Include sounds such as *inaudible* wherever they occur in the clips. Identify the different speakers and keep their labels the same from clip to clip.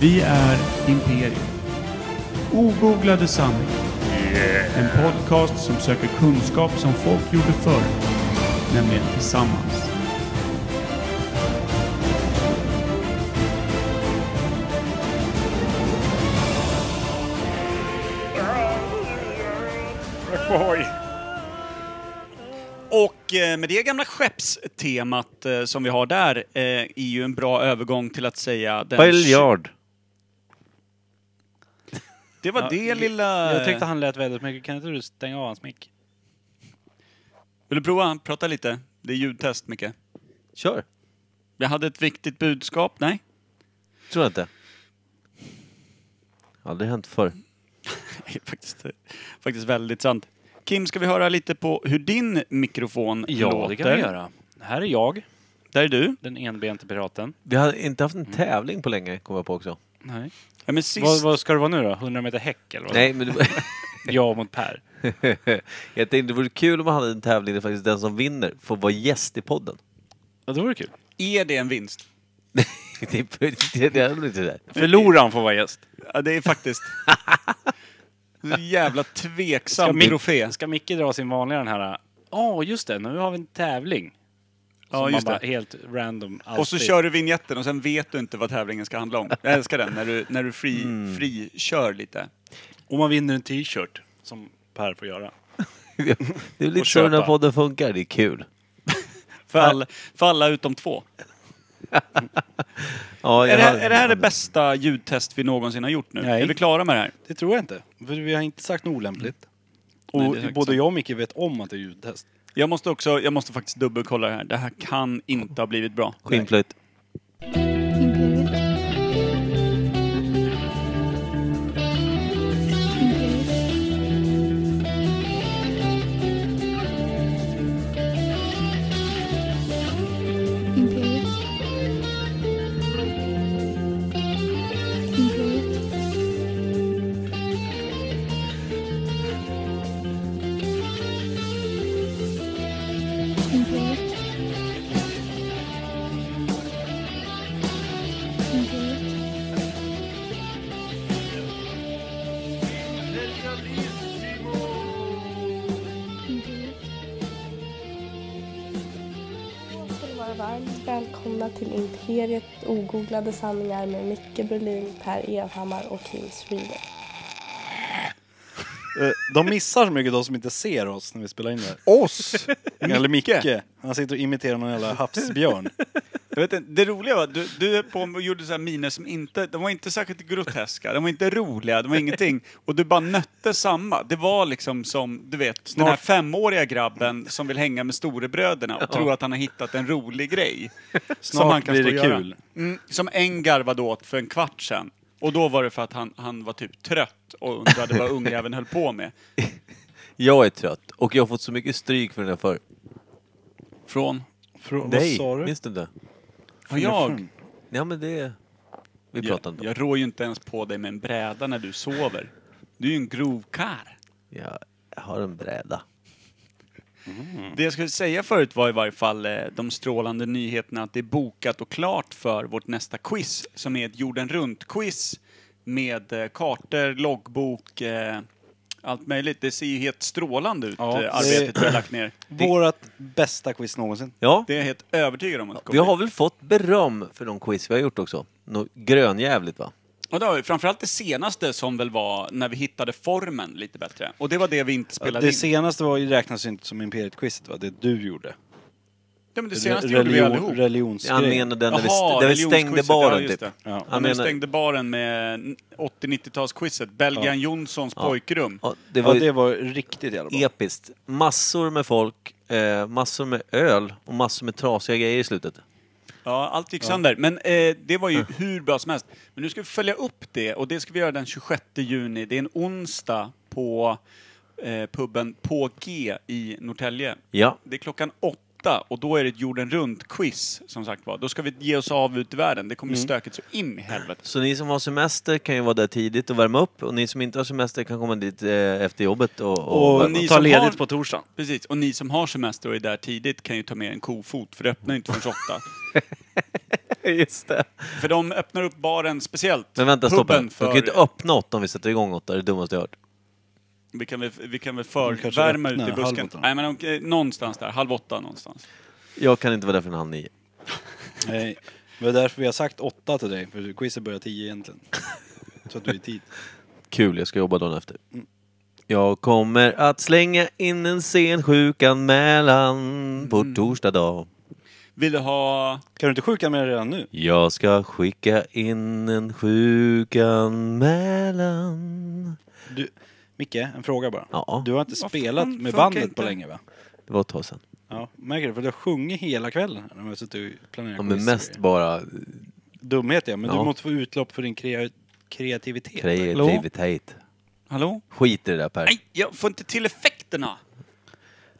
Speaker 1: Vi är Imperium. Ogooglade sanningar. En podcast som söker kunskap som folk gjorde förr. Nämligen tillsammans.
Speaker 2: Ahoy. Och eh, med det gamla skeppstemat eh, som vi har där eh, är ju en bra övergång till att säga... Den
Speaker 3: Biljard.
Speaker 2: Det var det lilla...
Speaker 4: Jag tyckte han lät väldigt mycket. Kan inte du stänga av hans mick?
Speaker 2: Vill du prova? Prata lite. Det är ljudtest, Micke.
Speaker 3: Kör.
Speaker 2: Jag hade ett viktigt budskap. Nej? *laughs*
Speaker 3: Tror jag inte. Aldrig hänt förr.
Speaker 2: Det är faktiskt, faktiskt väldigt sant. Kim, ska vi höra lite på hur din mikrofon låter?
Speaker 4: Här är jag,
Speaker 2: Där är du.
Speaker 4: den enbente piraten.
Speaker 3: Vi har inte haft en tävling på länge, kom jag på också.
Speaker 4: Nej.
Speaker 2: Ja, men sist...
Speaker 4: Vad, vad ska det vara nu då? 100 meter häck eller
Speaker 3: *laughs*
Speaker 4: vad?
Speaker 3: Nej, men det,
Speaker 4: Jag mot Per.
Speaker 3: *laughs* jag tänkte det vore kul om man hade en tävling där faktiskt den som vinner får vara gäst i podden.
Speaker 4: Ja, det vore kul.
Speaker 2: Är det en vinst?
Speaker 3: *laughs* det är det, det är väl inte det.
Speaker 4: Förloraren får vara gäst.
Speaker 2: Ja, det är faktiskt... *laughs* Så jävla
Speaker 4: Ska,
Speaker 2: tveksam
Speaker 4: Mic-
Speaker 2: trofé.
Speaker 4: ska Micke dra sin vanliga den här... Ja, just det. Nu har vi en tävling.
Speaker 2: Ja,
Speaker 4: Som man
Speaker 2: just
Speaker 4: bara
Speaker 2: det.
Speaker 4: Helt random.
Speaker 2: Och så
Speaker 4: alltid.
Speaker 2: kör du vignetten och sen vet du inte vad tävlingen ska handla om. Jag älskar den, när du, när du fri, fri kör lite.
Speaker 4: Och man vinner en t-shirt. Som Per får göra.
Speaker 3: Det är lite
Speaker 4: Och
Speaker 3: så den här
Speaker 4: köpa.
Speaker 3: podden funkar, det är kul.
Speaker 2: För, all, för alla utom två.
Speaker 3: Ja, jag
Speaker 2: Är det, här,
Speaker 3: har-
Speaker 2: är det här det bästa ljudtest vi någonsin har gjort nu?
Speaker 4: Nej.
Speaker 2: Är vi klara med det här?
Speaker 4: Det tror jag inte. För vi har inte sagt något olämpligt.
Speaker 2: Mm. Nej,
Speaker 4: Och
Speaker 2: det är exakt
Speaker 4: både
Speaker 2: sant.
Speaker 4: jag och Micke vet om att det är ljudtest.
Speaker 2: Jag måste också, jag måste faktiskt dubbelkolla det här. Det här kan inte ha blivit bra.
Speaker 3: Skinnflöjt.
Speaker 5: Imperiet. Imperiet. Imperiet. Imperiet. Imperiet. Imperiet. Imperiet.
Speaker 6: Jag ska ni vara varmt välkomna till Imperiet ogooglade sanningar med Micke Berlin, Per Evhammar och Kim Schreeder.
Speaker 4: Eh, De missar så mycket de som inte ser oss när vi spelar in det här.
Speaker 2: Oss?
Speaker 4: Eller Micke. Han sitter och imiterar någon jävla havsbjörn.
Speaker 2: Jag vet inte, det roliga var att du, du är på och gjorde så här miner som inte, de var inte särskilt groteska, de var inte roliga, de var ingenting. Och du bara nötte samma. Det var liksom som, du vet, den här femåriga grabben som vill hänga med storebröderna och tror att han har hittat en rolig *laughs* grej. som han kan
Speaker 4: blir
Speaker 2: stå
Speaker 4: det
Speaker 2: och göra.
Speaker 4: kul.
Speaker 2: Mm, som en garvad åt för en kvart sedan. Och då var det för att han, han var typ trött och undrade *laughs* vad ungjäveln höll på med.
Speaker 3: Jag är trött och jag har fått så mycket stryk för den här förr.
Speaker 2: Från?
Speaker 4: Frå-
Speaker 3: Nej,
Speaker 4: Vad sa du?
Speaker 3: minns du inte?
Speaker 2: Har jag?
Speaker 3: Ja men det... Vi pratar
Speaker 2: Jag,
Speaker 3: inte om
Speaker 2: jag rår ju inte ens på dig med en bräda när du sover. Du är ju en grov karl.
Speaker 3: det. Jag har en bräda.
Speaker 2: Det jag skulle säga förut var i varje fall eh, de strålande nyheterna att det är bokat och klart för vårt nästa quiz som är ett jorden runt-quiz med eh, kartor, loggbok, eh, allt möjligt. Det ser ju helt strålande ut,
Speaker 4: Ja,
Speaker 2: eh, arbetet vi har lagt ner.
Speaker 4: Vårat bästa quiz någonsin.
Speaker 3: Ja,
Speaker 2: Det är jag helt övertygad om att det
Speaker 3: vi
Speaker 2: kommer
Speaker 3: har väl fått beröm för de quiz vi har gjort också. Något grönjävligt va?
Speaker 2: Och det har vi, framförallt det senaste som väl var när vi hittade formen lite bättre. Och det var det vi inte spelade
Speaker 4: Det
Speaker 2: in.
Speaker 4: senaste var ju, räknas ju inte som Imperiet-quizet va? Det du gjorde.
Speaker 2: Ja, men det senaste
Speaker 4: Re-
Speaker 2: gjorde vi
Speaker 4: religion-
Speaker 2: allihop.
Speaker 3: Han
Speaker 4: Religionsgrej.
Speaker 3: menade den där vi,
Speaker 2: Jaha,
Speaker 3: där vi stängde
Speaker 2: religionsquizet, ja,
Speaker 3: baren typ.
Speaker 2: just det.
Speaker 4: Ja.
Speaker 2: Han
Speaker 3: Han
Speaker 2: menar...
Speaker 3: menar-
Speaker 2: stängde baren med 80-90-talsquizet, Belgian Jonssons pojkrum.
Speaker 3: Ja, det
Speaker 4: Det var,
Speaker 3: var
Speaker 4: ja, det
Speaker 3: ju
Speaker 4: var riktigt jävla bra.
Speaker 3: episkt. Massor med folk, eh, massor med öl och massor med trasiga grejer i slutet.
Speaker 2: Ja, allt gick sönder. Men eh, det var
Speaker 3: Mm.
Speaker 2: ju hur bra som helst. Men nu ska vi följa upp det och det ska vi göra den 26 juni. Det är en onsdag på eh, puben På G i Norrtälje.
Speaker 3: Ja.
Speaker 2: Det är klockan åtta och då är det ett jorden runt-quiz som sagt var. Då ska vi ge oss av ut i världen. Det
Speaker 3: Mm.
Speaker 2: kommer bli stökigt så in i helvete.
Speaker 3: Så ni som har semester kan ju vara där tidigt och värma upp och ni som inte har semester kan komma dit eh, efter jobbet och, och,
Speaker 4: Och
Speaker 3: värma
Speaker 2: ni
Speaker 3: upp.
Speaker 4: ta
Speaker 2: som
Speaker 4: ledigt
Speaker 2: har-
Speaker 4: på torsdagen.
Speaker 2: Precis, och
Speaker 4: *laughs*
Speaker 2: ni som har semester och är där tidigt kan ju ta med en kofot för det öppnar ju inte förrän åtta.
Speaker 3: *laughs* Just det.
Speaker 2: För de öppnar upp baren speciellt.
Speaker 3: Men vänta, stoppa.
Speaker 2: Puben
Speaker 3: De kan ju inte öppna åtta om vi sätter igång åtta, det är det dummaste jag hört.
Speaker 2: Vi kan väl, vi kan väl
Speaker 4: De kanske
Speaker 2: förvärma ute i
Speaker 4: öppnar halv
Speaker 2: busken.
Speaker 4: åtta.
Speaker 2: Nej, men de, eh, någonstans där. Halv åtta någonstans.
Speaker 3: Jag kan inte vara där förrän halv nio.
Speaker 4: Nej, det var därför vi har sagt åtta till dig, för quizet börjar tio egentligen. Så att du är i tid.
Speaker 3: Kul, jag ska jobba dagen efter. Jag kommer att slänga in en sen sjukanmälan på
Speaker 2: Mm.
Speaker 3: torsdag dag.
Speaker 2: Vill du ha...
Speaker 4: Kan du inte sjuka med redan nu?
Speaker 3: Jag ska skicka in en sjukanmälan.
Speaker 4: Du, Micke, en fråga bara.
Speaker 3: Ja.
Speaker 4: Du har inte spelat
Speaker 2: fan
Speaker 4: med
Speaker 2: funkar
Speaker 4: bandet
Speaker 2: inte?
Speaker 4: på länge va?
Speaker 3: Det var ett tag sedan.
Speaker 4: Ja, märker du? För du har sjungit hela kvällen här när vi har suttit och planerat
Speaker 3: Ja,
Speaker 4: quiz
Speaker 3: men
Speaker 4: och
Speaker 3: mest
Speaker 4: grejer.
Speaker 3: bara
Speaker 4: Dumhet ja, men
Speaker 3: Ja.
Speaker 4: du måste få utlopp för din krea kreativitet.
Speaker 3: kreativitet.
Speaker 2: Hallå?
Speaker 3: Skit i det där Per.
Speaker 2: Nej, jag får inte till effekterna!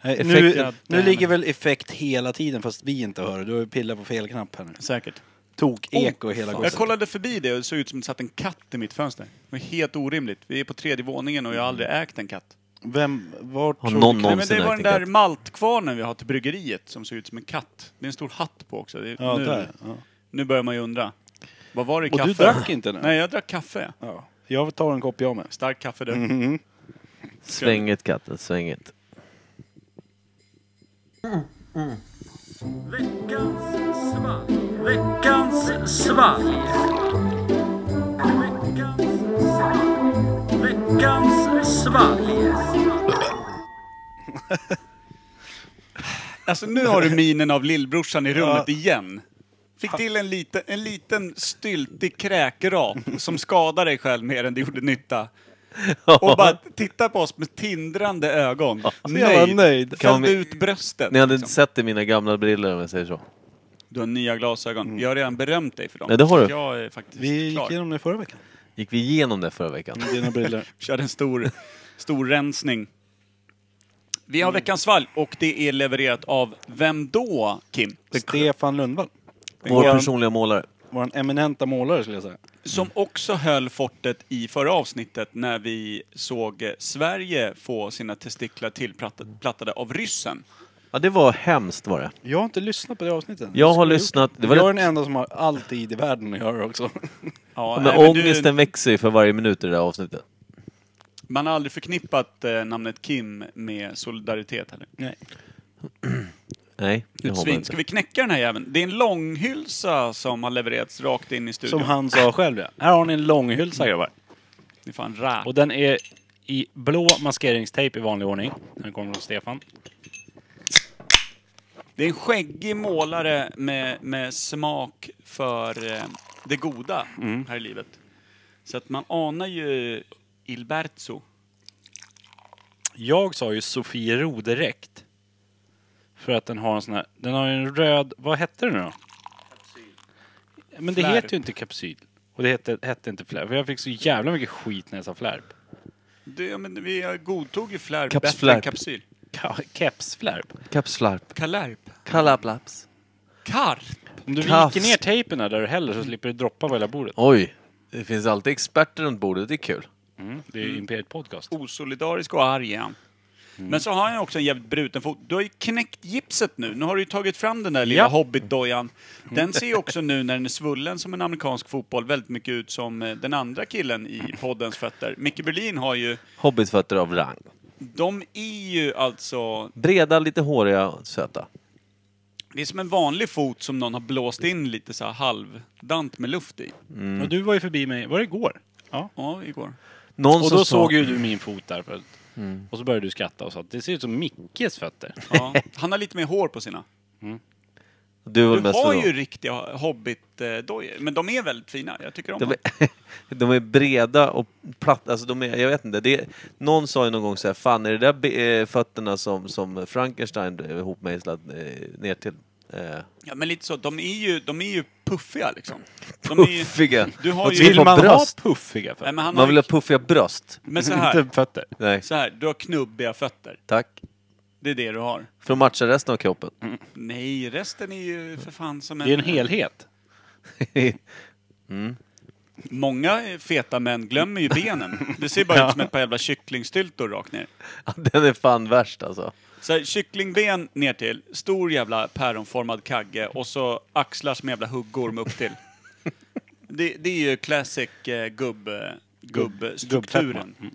Speaker 4: Nej,
Speaker 2: Effekten-
Speaker 4: nu, nu ligger väl effekt hela tiden fast vi inte hör det. Du har ju pillat på fel knapp här nu.
Speaker 2: Säkert.
Speaker 3: Oh,
Speaker 4: Tok-eko hela
Speaker 2: Oh, Jag
Speaker 4: gosset.
Speaker 2: kollade förbi det och det såg ut som det satt en katt i mitt fönster. Det var helt orimligt. Vi är på tredje våningen och jag har aldrig ägt en katt.
Speaker 4: Vem, vart
Speaker 3: Har
Speaker 4: tror
Speaker 3: någon
Speaker 4: du-
Speaker 2: Nej, men
Speaker 3: någonsin
Speaker 2: det var
Speaker 3: ägt
Speaker 2: den
Speaker 3: en
Speaker 2: där
Speaker 3: katt?
Speaker 2: maltkvarnen vi har till bryggeriet som ser ut som en katt. Det är en stor hatt på också. Det är,
Speaker 4: Ja,
Speaker 2: nu,
Speaker 4: där. Ja.
Speaker 2: nu börjar man ju undra. Vad var det i
Speaker 4: Och
Speaker 2: kaffe?
Speaker 4: du drack inte nu?
Speaker 2: Nej, jag drack kaffe.
Speaker 4: Ja. Mm. Jag tar en kopp jag med.
Speaker 2: Stark kaffe du.
Speaker 3: Svänget katten, svänget.
Speaker 2: Alltså nu har du minen av lillbrorsan i rummet igen. Fick till en liten, en liten styltig kräkrap som skadade dig själv mer än det gjorde nytta. Och bara titta på oss med tindrande ögon.
Speaker 4: jävla Alltså, nöjd.
Speaker 3: Kan
Speaker 2: Fällde
Speaker 3: vi-
Speaker 2: ut bröstet.
Speaker 3: Ni hade inte
Speaker 2: liksom.
Speaker 3: sett i mina gamla briller om jag säger så.
Speaker 2: Du har nya glasögon. Jag har redan berömt dig för dem.
Speaker 3: Nej, det har
Speaker 2: Så
Speaker 3: du.
Speaker 2: att Jag är faktiskt
Speaker 4: Mm. Vi gick
Speaker 2: klar.
Speaker 4: igenom det förra veckan.
Speaker 3: Gick vi igenom det förra veckan?
Speaker 2: Mm.
Speaker 3: *laughs*
Speaker 4: Dina briller.
Speaker 2: Körde en stor, stor rensning. Vi
Speaker 4: Mm.
Speaker 2: har veckans valg och det är levererat av vem då, Kim?
Speaker 4: Stefan Lundvall.
Speaker 3: Vår
Speaker 4: Vår-
Speaker 3: personliga målare.
Speaker 4: Vår eminenta målare skulle jag säga.
Speaker 2: Som också höll fortet i förra avsnittet när vi såg eh, Sverige få sina testiklar tillplattade av ryssen.
Speaker 3: Ja, det var hemskt var det.
Speaker 4: Jag har inte lyssnat på det avsnittet. än.
Speaker 3: Jag har
Speaker 4: Skulle gjort
Speaker 3: lyssnat-
Speaker 4: det.
Speaker 3: det var
Speaker 4: jag är
Speaker 3: rätt-
Speaker 4: den enda som har alltid i världen att göra också.
Speaker 2: Ja,
Speaker 3: Men
Speaker 2: nej, men
Speaker 3: ångesten
Speaker 2: du,
Speaker 3: växer ju för varje minut i det där avsnittet.
Speaker 2: man har aldrig förknippat eh, namnet Kim med solidaritet heller.
Speaker 4: Nej.
Speaker 3: Nej, det har man
Speaker 2: Utsvin. Ska
Speaker 3: inte.
Speaker 2: vi knäcka den här jäveln? Det är en långhylsa som har levererats rakt in i studion.
Speaker 4: Som han sa själv ja. Här har ni en långhylsa grabbar.
Speaker 2: Det är fan rakt.
Speaker 7: Och den är i blå maskeringstejp i vanlig ordning. Den kommer från Stefan.
Speaker 2: Det är en skäggig målare med, med smak för eh, det goda här i livet. Så att man anar ju Ilberto.
Speaker 7: Jag sa ju Sofiero direkt. För att den har en sån här... Den har ju en röd... Vad hette den nu då? Men det
Speaker 2: Flärp.
Speaker 7: heter ju inte kapsyl. Och det hette, hette inte flärp. För jag fick så jävla mycket skit när jag sa flärp.
Speaker 2: Det, ja, men vi godtog ju flärp
Speaker 3: Kaps-
Speaker 2: bättre än
Speaker 3: flärp.
Speaker 2: kapsyl.
Speaker 7: Ka- Kepsflärp.
Speaker 3: Kapslarp.
Speaker 2: Kalärp.
Speaker 3: Kalaplaps.
Speaker 2: Karp.
Speaker 7: Om du
Speaker 3: Kaps.
Speaker 7: viker ner tejpen här där du häller så slipper du droppa på hela bordet.
Speaker 3: Oj, det finns alltid experter runt bordet. Det är kul.
Speaker 7: Det är ju Imperiet Podcast.
Speaker 2: Osolidarisk och arg är han. Men så har han ju också en jävligt bruten fot. Du har ju knäckt gipset nu. Nu har du ju tagit fram den där lilla
Speaker 7: Ja.
Speaker 2: hobbitdojan. Den ser ju också nu när den är svullen som en amerikansk fotboll väldigt mycket ut som eh, den andra killen i poddens fötter. Micke Berlin har ju
Speaker 3: Hobbitfötter av rang.
Speaker 2: De är ju alltså...
Speaker 3: Breda, lite håriga och söta.
Speaker 2: Det är som en vanlig fot som någon har blåst in lite så här halvdant med luft i.
Speaker 3: Mm.
Speaker 7: Och du var ju förbi mig, var det igår? Ja.
Speaker 2: Ja, igår.
Speaker 3: Någon
Speaker 7: Och
Speaker 3: som
Speaker 7: då
Speaker 3: sa-
Speaker 7: såg ju du min fot där förut. Och så började du skratta och sa att det ser ut som Mickes fötter.
Speaker 2: Ja. Han har lite mer hår på sina.
Speaker 3: Du var
Speaker 2: Du
Speaker 3: mest
Speaker 2: har
Speaker 3: för
Speaker 2: ju riktiga hobbit-dojor, men de är väldigt fina. Jag tycker om
Speaker 3: de
Speaker 2: dem.
Speaker 3: är, *laughs* de är breda och platta, alltså de är, jag vet inte. Det är, någon sa ju någon gång så här, fan är det där be- eh, fötterna som, som Frankenstein blev ihopmejslad eh, ner till? Eh,
Speaker 2: Ja, men lite så. De är ju, de är ju puffiga liksom. De är ju,
Speaker 3: puffiga!
Speaker 2: du har
Speaker 3: Och
Speaker 2: ju-
Speaker 3: så vill
Speaker 2: Vill
Speaker 3: man ha...
Speaker 4: ha puffiga
Speaker 2: nej,
Speaker 4: fötter.
Speaker 2: men han
Speaker 3: Man
Speaker 2: har,
Speaker 3: vill ha puffiga bröst.
Speaker 2: men
Speaker 3: *laughs*
Speaker 2: så här,
Speaker 4: Inte fötter.
Speaker 3: Nej,
Speaker 2: så här, du har knubbiga fötter.
Speaker 3: tack.
Speaker 2: Det är det du har.
Speaker 3: För att matcha resten av kroppen. *laughs*
Speaker 2: Nej, resten är ju för fan som en...
Speaker 7: Det är en helhet.
Speaker 2: Många feta män glömmer ju benen. Det ser bara
Speaker 3: *laughs*
Speaker 2: ut som ett par jävla kycklingstyltor rakt ner.
Speaker 3: Den är fan värst alltså.
Speaker 2: Så här, kycklingben ner till, stor jävla päronformad kagge och så axlar som jävla huggorm upp till. Det, det är ju classic eh, gubb, gubbstrukturen.
Speaker 3: Mm.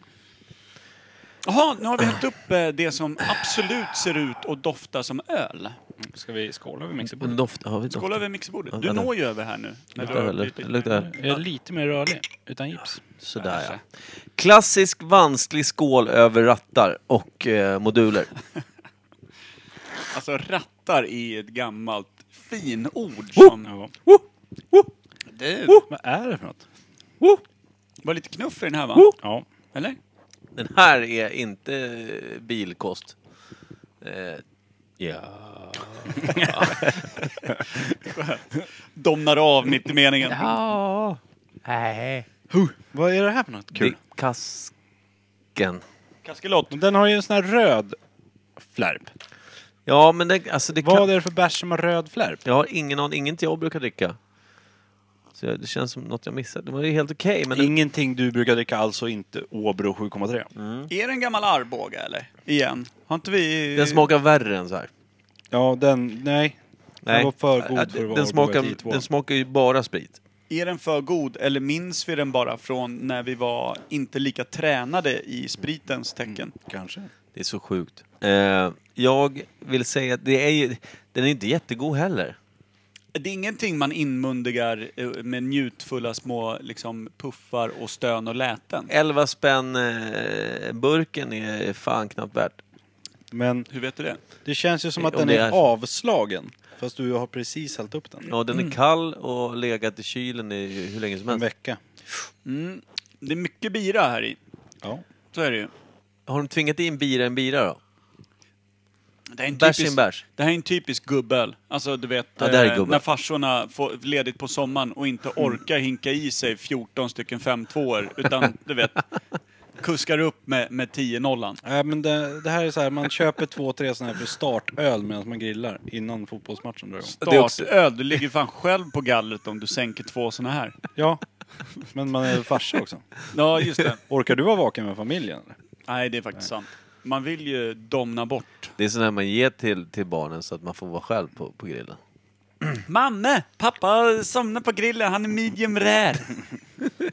Speaker 2: Jaha, nu har vi hällt upp eh, det som absolut ser ut och doftar som öl.
Speaker 7: Ska vi skåla vid mixerbordet?
Speaker 3: Men doft, har vi doft?
Speaker 2: Skål över mixerbordet. Du
Speaker 3: Ja, det-
Speaker 2: når ju över här nu. när du
Speaker 3: Luktar det,
Speaker 2: har blivit-
Speaker 3: luktar, luktar.
Speaker 7: Jag är lite mer rörlig, utan gips.
Speaker 3: Sådär ja. Klassisk vansklig skål över rattar och eh, moduler.
Speaker 2: Alltså rattar i ett gammalt finord som...
Speaker 3: Woo! Woo!
Speaker 2: Du,
Speaker 7: Vad är det för något?
Speaker 3: Woo!
Speaker 2: var lite knuff i den här va?
Speaker 3: Woo!
Speaker 7: Ja.
Speaker 2: Eller?
Speaker 3: Den här är inte eh, bilkost. Eh, ja.
Speaker 2: Domnar av mitt i meningen.
Speaker 3: Ja. Nej.
Speaker 4: Vad är det här för något?
Speaker 3: Kul. Det, kasken.
Speaker 2: Kaskelot.
Speaker 4: Den har ju en sån här röd flärp.
Speaker 3: Ja, men det, alltså det
Speaker 4: Vad
Speaker 3: kan,
Speaker 4: är det för bärs som har röd flärp?
Speaker 3: Jag har ingen aning. Inget jag brukar dricka. Så jag, det känns som något jag missat. Det var ju helt okej, men...
Speaker 4: Ingenting du brukar dricka alls och inte Åbro 7,3.
Speaker 2: Är det en gammal Arboga eller? Igen. Har inte vi...
Speaker 3: Den smakar värre än så här. Äh,
Speaker 4: Ja, den... Nej. Den var för god för att vara
Speaker 3: den, smakar,
Speaker 4: Åbro
Speaker 3: den smakar ju bara sprit.
Speaker 2: Är den för god eller minns vi den bara från när vi var inte lika tränade i spritens tecken?
Speaker 4: Kanske.
Speaker 3: Det är så sjukt. Eh, jag vill säga att det är ju, den är inte jättegod heller.
Speaker 2: Det är ingenting man inmundigar eh, med njutfulla små liksom, puffar och stön och läten.
Speaker 3: 11 spänn eh, burken är fan knappt värt.
Speaker 4: Men
Speaker 2: Hur vet du det?
Speaker 4: det känns ju som att
Speaker 3: Om
Speaker 4: den
Speaker 3: det
Speaker 4: är,
Speaker 3: är så.
Speaker 4: avslagen. Fast du har precis hällt upp den.
Speaker 3: Ja, den är kall och legat i kylen i hur länge som
Speaker 4: Mm. En
Speaker 3: helst.
Speaker 4: vecka.
Speaker 2: Mm. Det är mycket bira här i.
Speaker 4: Ja.
Speaker 2: Så är det ju.
Speaker 3: Har de tvingat in bira i en bira då?
Speaker 2: Det här är en
Speaker 3: Bärs i
Speaker 2: typisk-
Speaker 3: en bärs.
Speaker 2: Det här är en typisk gubböl. Alltså du vet,
Speaker 3: Ja, det här är Mm.
Speaker 2: eh,
Speaker 3: gubböl.
Speaker 2: när farsorna får ledigt på sommaren och inte orkar hinka i sig 14 stycken 5 2
Speaker 3: *laughs*
Speaker 2: utan du vet, kuskar upp med, med 10 nollan.
Speaker 4: Nej, men det, det här är så här, man köper två, tre såna här för startöl medan man grillar innan fotbollsmatchen drar igång.
Speaker 3: Det är också-
Speaker 2: Startöl, du ligger fan själv på gallret om du sänker två såna här.
Speaker 4: Ja. Men man är farsa också.
Speaker 2: Ja, just det.
Speaker 4: Orkar du vara vaken med familjen? eller?
Speaker 2: Nej, det är faktiskt sant. Man vill ju domna bort.
Speaker 3: Det är sån här man ger till, till barnen så att man får vara själv på, på grillen.
Speaker 2: Manne! Pappa somnar på grillen, han är
Speaker 3: *laughs*
Speaker 2: medium rare.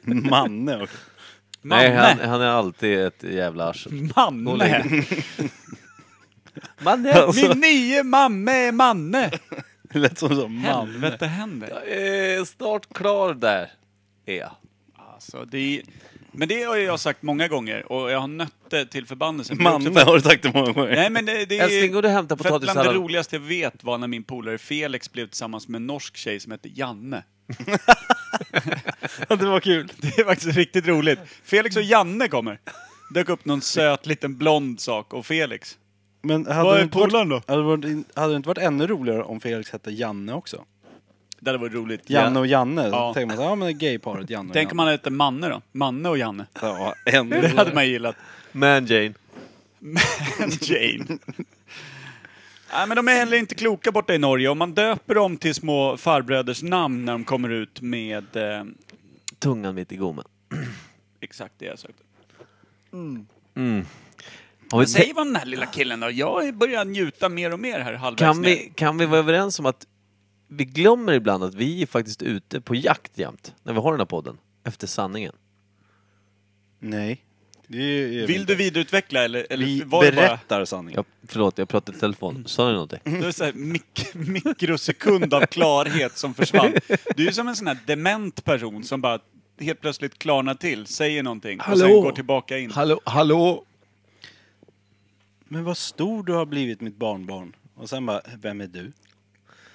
Speaker 4: Manne också.
Speaker 3: Nej, han,
Speaker 2: Manne!
Speaker 3: han är alltid ett jävla arsel.
Speaker 2: Manne!
Speaker 3: Man *laughs*
Speaker 2: Min nye mamme är Manne!
Speaker 4: Det lät som så, man.
Speaker 2: Helvete händer.
Speaker 3: Eh, snart klar där, är jag.
Speaker 2: Alltså, det är... Men det har ju jag sagt många gånger och jag har nött det till förbannelse. Men det är också
Speaker 4: Manne har du sagt det många gånger.
Speaker 2: Nej men det, det är...
Speaker 3: Älskling, går du och hämtar
Speaker 2: för att Bland
Speaker 3: potatissallad?
Speaker 2: det roligaste jag vet var när min polare Felix blev tillsammans med en norsk tjej som hette Janne. *laughs*
Speaker 4: Det var kul.
Speaker 2: Det är faktiskt riktigt roligt. Felix och Janne kommer. Dök upp någon söt liten blond sak och Felix.
Speaker 4: Men hade
Speaker 2: Vad
Speaker 4: det
Speaker 2: är
Speaker 4: inte varit-
Speaker 2: polaren då?
Speaker 4: Hade det, varit, hade det inte varit ännu roligare om Felix hette Janne också?
Speaker 2: Det hade varit roligt.
Speaker 4: Janne och Janne.
Speaker 2: Ja.
Speaker 4: Ja. Tänker man så, här, ja men det är gayparet Janne och
Speaker 2: Tänk om
Speaker 4: Janne.
Speaker 2: han hette Manne då. Manne och Janne.
Speaker 4: Ja, ännu
Speaker 2: Det hade man gillat.
Speaker 3: Man Jane.
Speaker 2: Men *laughs* Jane. Nej, men de är heller inte kloka borta i Norge. Om man döper dem till små farbröders namn när de kommer ut med eh,
Speaker 3: Tungan mitt i gommen.
Speaker 2: exakt det jag sökte.
Speaker 3: Har vi
Speaker 2: Men säg vad om den här lilla killen då. Jag börjar njuta mer och mer här halvvägs
Speaker 3: kan,
Speaker 2: ner.
Speaker 3: vi, kan vi vara överens om att vi glömmer ibland att vi är faktiskt ute på jakt jämt, när vi har den här podden, efter sanningen.
Speaker 4: Nej. Det är, är
Speaker 2: Vill du vidareutveckla eller, eller
Speaker 4: Vi
Speaker 2: var det bara
Speaker 4: berättar sanningen.
Speaker 3: Jag, förlåt, jag pratade i telefon. Sa du någonting?
Speaker 2: det var så här, mik mikrosekund av klarhet som försvann? Du är som en sån här dement person som bara helt plötsligt klarnar till, säger någonting och sen går tillbaka in.
Speaker 3: Hallå, hallå!
Speaker 4: Men vad stor du har blivit mitt barnbarn. Och sen bara, vem är du?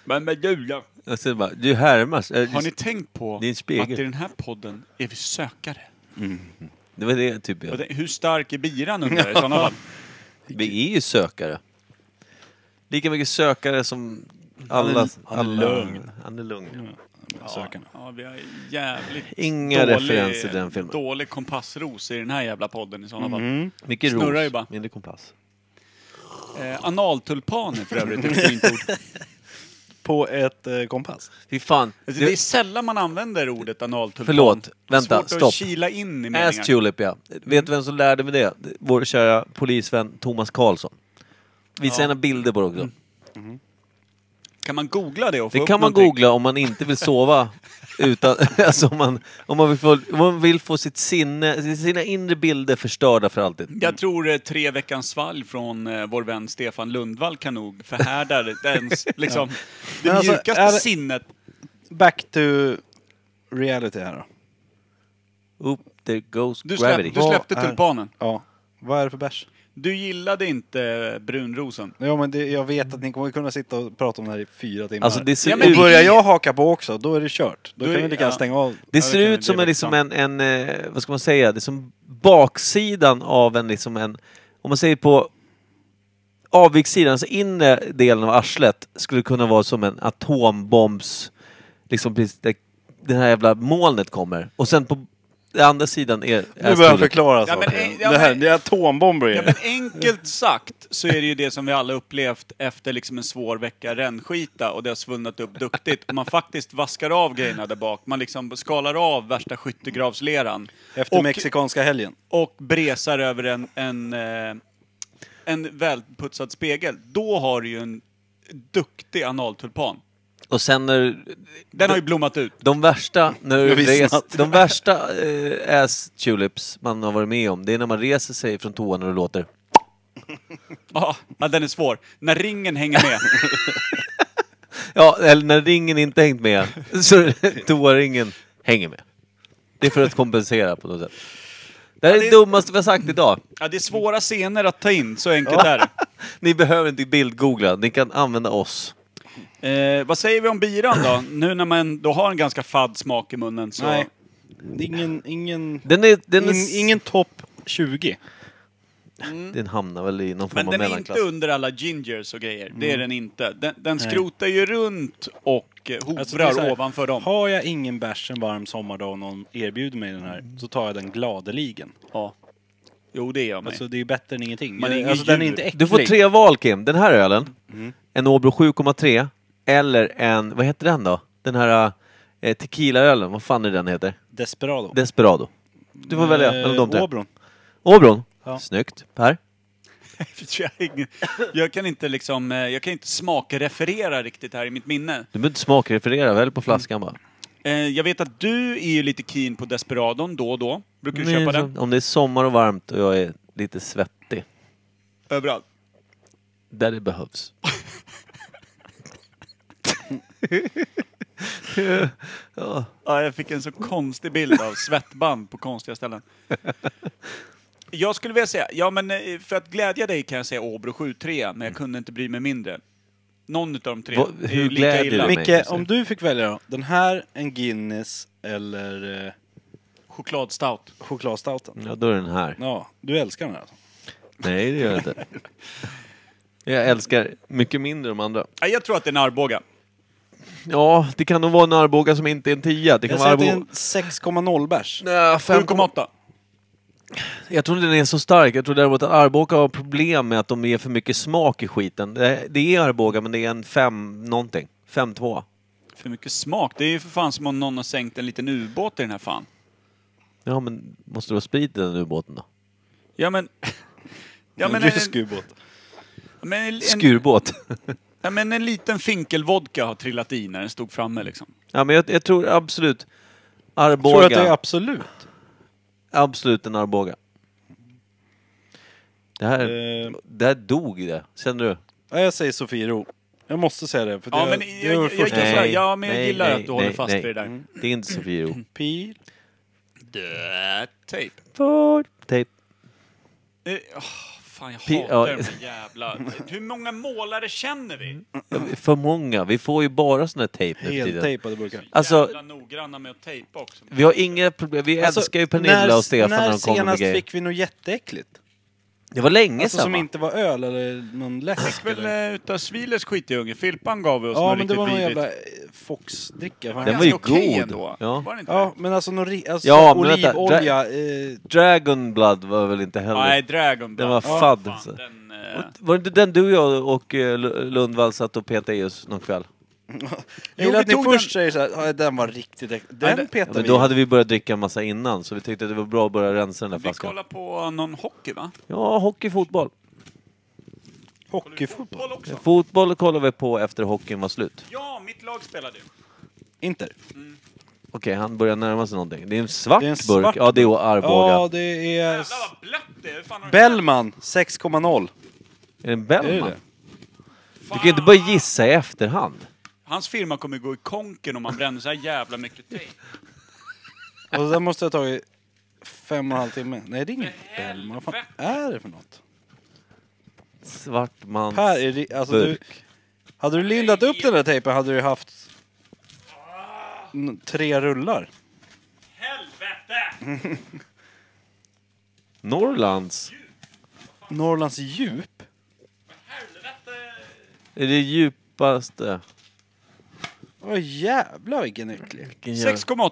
Speaker 2: Men, men Julia.
Speaker 3: Jag ser bara, du härmas. Eh,
Speaker 2: Har ni tänkt på
Speaker 3: Det är en spegel.
Speaker 2: att i den här podden är vi sökare?
Speaker 3: Det var det typ
Speaker 2: Och
Speaker 3: jag...
Speaker 2: det- Hur stark är biran undrar jag i sådana fall?
Speaker 3: Vi är ju sökare. Lika mycket sökare som alla...
Speaker 4: han är
Speaker 3: alla-
Speaker 4: lugn.
Speaker 3: Han är lugn.
Speaker 4: Sökarna.
Speaker 2: Ja, vi har jävligt
Speaker 3: Inga
Speaker 2: dålig,
Speaker 3: referenser i den filmen. Mm.
Speaker 2: dålig kompassros i den här jävla podden i sådana
Speaker 3: Mycket
Speaker 2: Snurrar ju
Speaker 3: ros,
Speaker 2: bara.
Speaker 3: mindre kompass. *laughs*
Speaker 2: fall. Eh, analtulpan är för övrigt ett fint ord.
Speaker 4: på ett eh, kompass.
Speaker 3: Fy fan.
Speaker 2: Alltså, det är
Speaker 3: Du,
Speaker 2: sällan man använder ordet analtulpan.
Speaker 3: Förlåt,
Speaker 2: Det är
Speaker 3: vänta,
Speaker 2: svårt
Speaker 3: stopp.
Speaker 2: att kila in i
Speaker 3: ass
Speaker 2: meningar.
Speaker 3: tulip, ja. Vet du vem som lärde mig det? Vår kära polisvän Thomas Karlsson. Visa gärna bilder på det också.
Speaker 2: Kan man googla det och få
Speaker 3: Det
Speaker 2: Mm. upp
Speaker 3: kan man
Speaker 2: någonting?
Speaker 3: googla om man inte vill sova.
Speaker 2: *laughs*
Speaker 3: Utan, *laughs* alltså om, man, om, man vill få, om man vill få sitt sinne, sina inre bilder förstörda för alltid.
Speaker 2: Jag tror eh, tre veckans svalg från eh, vår vän Stefan Lundvall kan nog förhärda det-
Speaker 3: *laughs*
Speaker 2: ens, liksom, det
Speaker 4: Men alltså,
Speaker 2: mjukaste
Speaker 4: är det-
Speaker 2: sinnet.
Speaker 4: Back to reality här då.
Speaker 3: Oop, there goes
Speaker 2: Du,
Speaker 3: gravity.
Speaker 2: släpp, du släppte
Speaker 4: Vad är-
Speaker 2: tulpanen.
Speaker 4: Ja. Vad är det för bärs?
Speaker 2: Du gillade inte brunrosen.
Speaker 4: Ja, men det, jag vet att ni kommer kunna sitta och prata om det här i fyra timmar.
Speaker 3: Alltså det ser
Speaker 2: Ja, men
Speaker 4: och
Speaker 3: ut...
Speaker 4: börjar jag haka på också, då är det kört. Då,
Speaker 2: Då är-
Speaker 4: kan vi lika gärna
Speaker 2: ja.
Speaker 4: stänga av.
Speaker 3: Det
Speaker 2: Ja,
Speaker 3: ser
Speaker 2: det kan
Speaker 3: ut
Speaker 2: vi
Speaker 3: som
Speaker 2: leva
Speaker 3: en, liksom en, en, eh, vad ska man säga, det är som baksidan av en, liksom en, om man säger på avviksidan, alltså inre delen av arslet skulle kunna vara som en atombombs, liksom precis där det här jävla molnet kommer. Och sen på den andra sidan är... är
Speaker 4: Nu börjar han
Speaker 3: strålet.
Speaker 4: förklara
Speaker 2: Ja, men,
Speaker 4: saker.
Speaker 2: eh, ja,
Speaker 4: det, här,
Speaker 2: men-
Speaker 4: det är atombomber i
Speaker 2: Ja,
Speaker 4: det.
Speaker 2: men enkelt sagt så är det ju det som vi alla upplevt efter liksom en svår vecka rännskita och det har svullnat upp duktigt. Och man faktiskt vaskar av grejerna där bak. Man liksom skalar av värsta skyttegravsleran.
Speaker 4: Efter
Speaker 2: och,
Speaker 4: mexikanska helgen.
Speaker 2: och bresar över en, en, eh, en välputsad spegel. Då har du ju en duktig analtulpan.
Speaker 3: Och sen när
Speaker 2: Den har ju blommat ut.
Speaker 3: de värsta, när
Speaker 4: Jag
Speaker 3: du
Speaker 4: visste
Speaker 3: res,
Speaker 4: att-
Speaker 3: de värsta eh, ass tulips man har varit med om, det är när man reser sig från toan och det låter.
Speaker 2: Ja, ja, den är svår. När ringen hänger med.
Speaker 3: Ja, eller när ringen inte hängt med *laughs* så toaringen hänger med. Det är för att kompensera på något sätt. Det här är det dummaste vi har sagt idag.
Speaker 2: Ja, det är svåra scener att ta in, så enkelt är det.
Speaker 3: Ni behöver inte bildgoogla, ni kan använda oss.
Speaker 2: Eh, vad säger vi om biran då? Nu när man då har en ganska fadd smak i munnen så...
Speaker 4: Nej. Ingen, ingen,
Speaker 3: Den är... Den är
Speaker 4: in, ingen topp 20.
Speaker 3: Den hamnar väl i någon form
Speaker 2: Men
Speaker 3: av
Speaker 2: den är inte
Speaker 3: mellanklass.
Speaker 2: under alla gingers och grejer. Det är den inte. Den, den skrotar ju runt och eh, hovrar
Speaker 4: Alltså, det är så här,
Speaker 2: ovanför dem.
Speaker 4: Har jag ingen bärs en varm sommardag och någon erbjuder mig den här så tar jag den gladeligen.
Speaker 2: Ja. Jo, det gör man ju.
Speaker 4: Alltså det är ju bättre än ingenting.
Speaker 2: Man är ingen
Speaker 4: alltså, den är
Speaker 2: djur.
Speaker 4: inte äcklig.
Speaker 3: Du får tre val Kim. Den här ölen, en Åbro 7,3 eller en, vad heter den då? Den här eh, tequilaölen, vad fan är den heter?
Speaker 4: Desperado.
Speaker 3: Desperado. Du får välja
Speaker 4: Eh,
Speaker 3: mellan de tre.
Speaker 4: Åbron.
Speaker 3: Åbron.
Speaker 4: Ja.
Speaker 3: Snyggt. Per?
Speaker 2: För *laughs* Jag, har ingen- jag kan inte liksom, eh, jag kan inte smakreferera riktigt här i mitt minne.
Speaker 3: Du behöver inte smakreferera, väl på flaskan bara.
Speaker 2: Eh, Jag vet att du är ju lite keen på Desperadon då och då. Brukar du köpa
Speaker 3: Nej,
Speaker 2: den?
Speaker 3: Om det är sommar och varmt och jag är lite svettig.
Speaker 2: Överallt.
Speaker 3: Där det behövs. ja.
Speaker 2: Ja, jag fick en så konstig bild av svettband på konstiga ställen. Jag skulle vilja säga, ja men eh, för att glädja dig kan jag säga Åbro 73, men jag kunde inte bry mig mindre. Någon utav de tre.
Speaker 3: Vad-
Speaker 2: är ju
Speaker 3: hur glädjer du mig?
Speaker 4: Micke, om du fick välja då. Den här, en Guinness eller eh,
Speaker 2: Chokladstout.
Speaker 4: chokladstout.
Speaker 3: ja, då är den här.
Speaker 4: Ja, du älskar den här alltså.
Speaker 3: Nej, det gör jag
Speaker 4: *laughs*
Speaker 3: inte. Jag älskar mycket mindre de andra.
Speaker 2: Ja, Jag tror att det är en Arboga.
Speaker 3: Ja, det kan nog vara en Arboga som inte är en tia. Det kan
Speaker 4: Jag
Speaker 3: vara
Speaker 4: säger att det är
Speaker 3: Arboga...
Speaker 4: en 6,0 bärs.
Speaker 3: Nej, fem komma-
Speaker 2: 7,8.
Speaker 3: Jag tror inte den är så stark. Jag tror däremot att Arboga har problem med att de ger för mycket smak i skiten. Det det är Arboga, men det är en fem någonting. Fem tvåa.
Speaker 2: För mycket smak. Det är ju för fan som om någon har sänkt en liten ubåt i den här fan.
Speaker 3: Ja, men måste du ha sprit i den ubåten då?
Speaker 2: Ja men... Ja, men, en,
Speaker 4: Rysk ubåt.
Speaker 2: men, en, en,
Speaker 3: Skurbåt. *laughs*
Speaker 2: ja, men en liten finkelvodka har trillat i när den stod framme liksom.
Speaker 3: ja, men jag, jag tror absolut
Speaker 4: Tror du
Speaker 3: Arboga.
Speaker 4: att det är absolut?
Speaker 3: absolut en Arboga. Det här,
Speaker 4: Eh.
Speaker 3: det här dog det. Känner du?
Speaker 4: Nej, jag säger Sofiero. Jag måste säga det, för det,
Speaker 2: Ja, men
Speaker 4: det är
Speaker 2: jag-
Speaker 4: vår
Speaker 2: jag- jag-
Speaker 4: första
Speaker 2: gillar-
Speaker 4: jag,
Speaker 2: ja, men jag gillar att du håller fast vid det där.
Speaker 3: Mm. Det är inte Sofiero. *laughs*
Speaker 4: pil.
Speaker 2: Tejp.
Speaker 3: Tejp.
Speaker 2: Eh, åh, fan, jag
Speaker 3: Pi-
Speaker 2: hatar
Speaker 3: ja.
Speaker 2: de här jävla... Hur många målare känner
Speaker 3: Mm.
Speaker 2: vi?
Speaker 3: För många. Vi får ju bara sån här tejp nu för tiden.
Speaker 4: Heltejpade burkar.
Speaker 3: Alltså,
Speaker 2: Jävla noggranna med att tejpa också.
Speaker 3: vi har inga problem. Vi
Speaker 2: Alltså,
Speaker 3: älskar ju Pernilla
Speaker 4: Alltså, när,
Speaker 3: och Stefan när
Speaker 4: när
Speaker 3: de kommer med
Speaker 4: senast
Speaker 3: grejer.
Speaker 4: fick vi något jätteäckligt?
Speaker 3: Det var länge
Speaker 4: Alltså
Speaker 3: sedan
Speaker 4: som
Speaker 3: va?
Speaker 4: inte var öl eller någon läsk
Speaker 2: väl
Speaker 4: eller?
Speaker 2: eh, utav Svilers skitunge. Filpan gav vi oss
Speaker 4: Ja,
Speaker 2: något
Speaker 4: men det
Speaker 2: riktigt
Speaker 4: var någon
Speaker 2: vidrigt.
Speaker 4: jävla eh, Fox-dricka. fan.
Speaker 3: Den var ju
Speaker 2: Ganska okej
Speaker 3: god.
Speaker 2: Ändå.
Speaker 3: Ja.
Speaker 2: Var det inte
Speaker 4: Ja, men alltså någon ri- alltså,
Speaker 3: Ja, men vänta,
Speaker 4: olivolja. Eh,
Speaker 3: Dragon Blood var väl inte
Speaker 2: det?
Speaker 3: heller...
Speaker 2: Nej,
Speaker 3: den
Speaker 2: Dragon Blood.
Speaker 3: var
Speaker 2: Ja,
Speaker 3: fadd.
Speaker 2: fan,
Speaker 3: alltså.
Speaker 2: den, eh,
Speaker 3: Var det inte den du och jag och eh, L- Lundvall satt och petade i oss någon kväll?
Speaker 4: Jag gillar
Speaker 2: vi
Speaker 4: att ni
Speaker 2: tog
Speaker 4: först
Speaker 2: den-
Speaker 4: säger såhär, "Ja, den var riktigt äcklig.
Speaker 2: Nej,
Speaker 4: Den
Speaker 2: det-
Speaker 3: Ja,
Speaker 4: petar
Speaker 3: men
Speaker 4: vi
Speaker 3: då
Speaker 4: i.
Speaker 3: hade vi börjat dricka en massa innan, så vi tyckte att det var bra att börja rensa den där
Speaker 2: Vi
Speaker 3: flaskan.
Speaker 2: kollar på någon hockey va?
Speaker 3: Ja, hockey, fotboll.
Speaker 4: Hockeyfotboll?
Speaker 2: Boll också.
Speaker 3: Fotboll kollade vi på efter hockeyn var slut.
Speaker 2: Ja, mitt lag spelade ju.
Speaker 4: Inter.
Speaker 3: Okej, han börjar närma sig någonting. Det är en svart
Speaker 4: Det är en
Speaker 3: burk.
Speaker 4: svart
Speaker 3: Ja, det är Arboga.
Speaker 4: Ja, det är...
Speaker 2: Jävlar vad blött det är. Hur fan har du-
Speaker 4: Bellman 6,0.
Speaker 3: Är det en
Speaker 4: Är det
Speaker 3: Bellman?
Speaker 4: det?
Speaker 3: Du kan ju inte bara gissa i efterhand.
Speaker 2: Hans firma kommer gå i konken om han bränner så här jävla mycket tejp.
Speaker 4: Och den måste jag ha tagit fem och en halv timme. Nej, det är ingen Bellman. Vad fan är det för något?
Speaker 3: Svartmans...
Speaker 4: Per, är det, alltså du...
Speaker 3: Burk.
Speaker 4: Hade du lindat upp den där tejpen hade du haft n- tre rullar.
Speaker 2: Helvete!
Speaker 3: Norrlands?
Speaker 4: Norrlands djup?
Speaker 2: Helvete!
Speaker 3: Är det djupaste?
Speaker 4: Åh jävlar vilken äcklig.
Speaker 2: 6,8.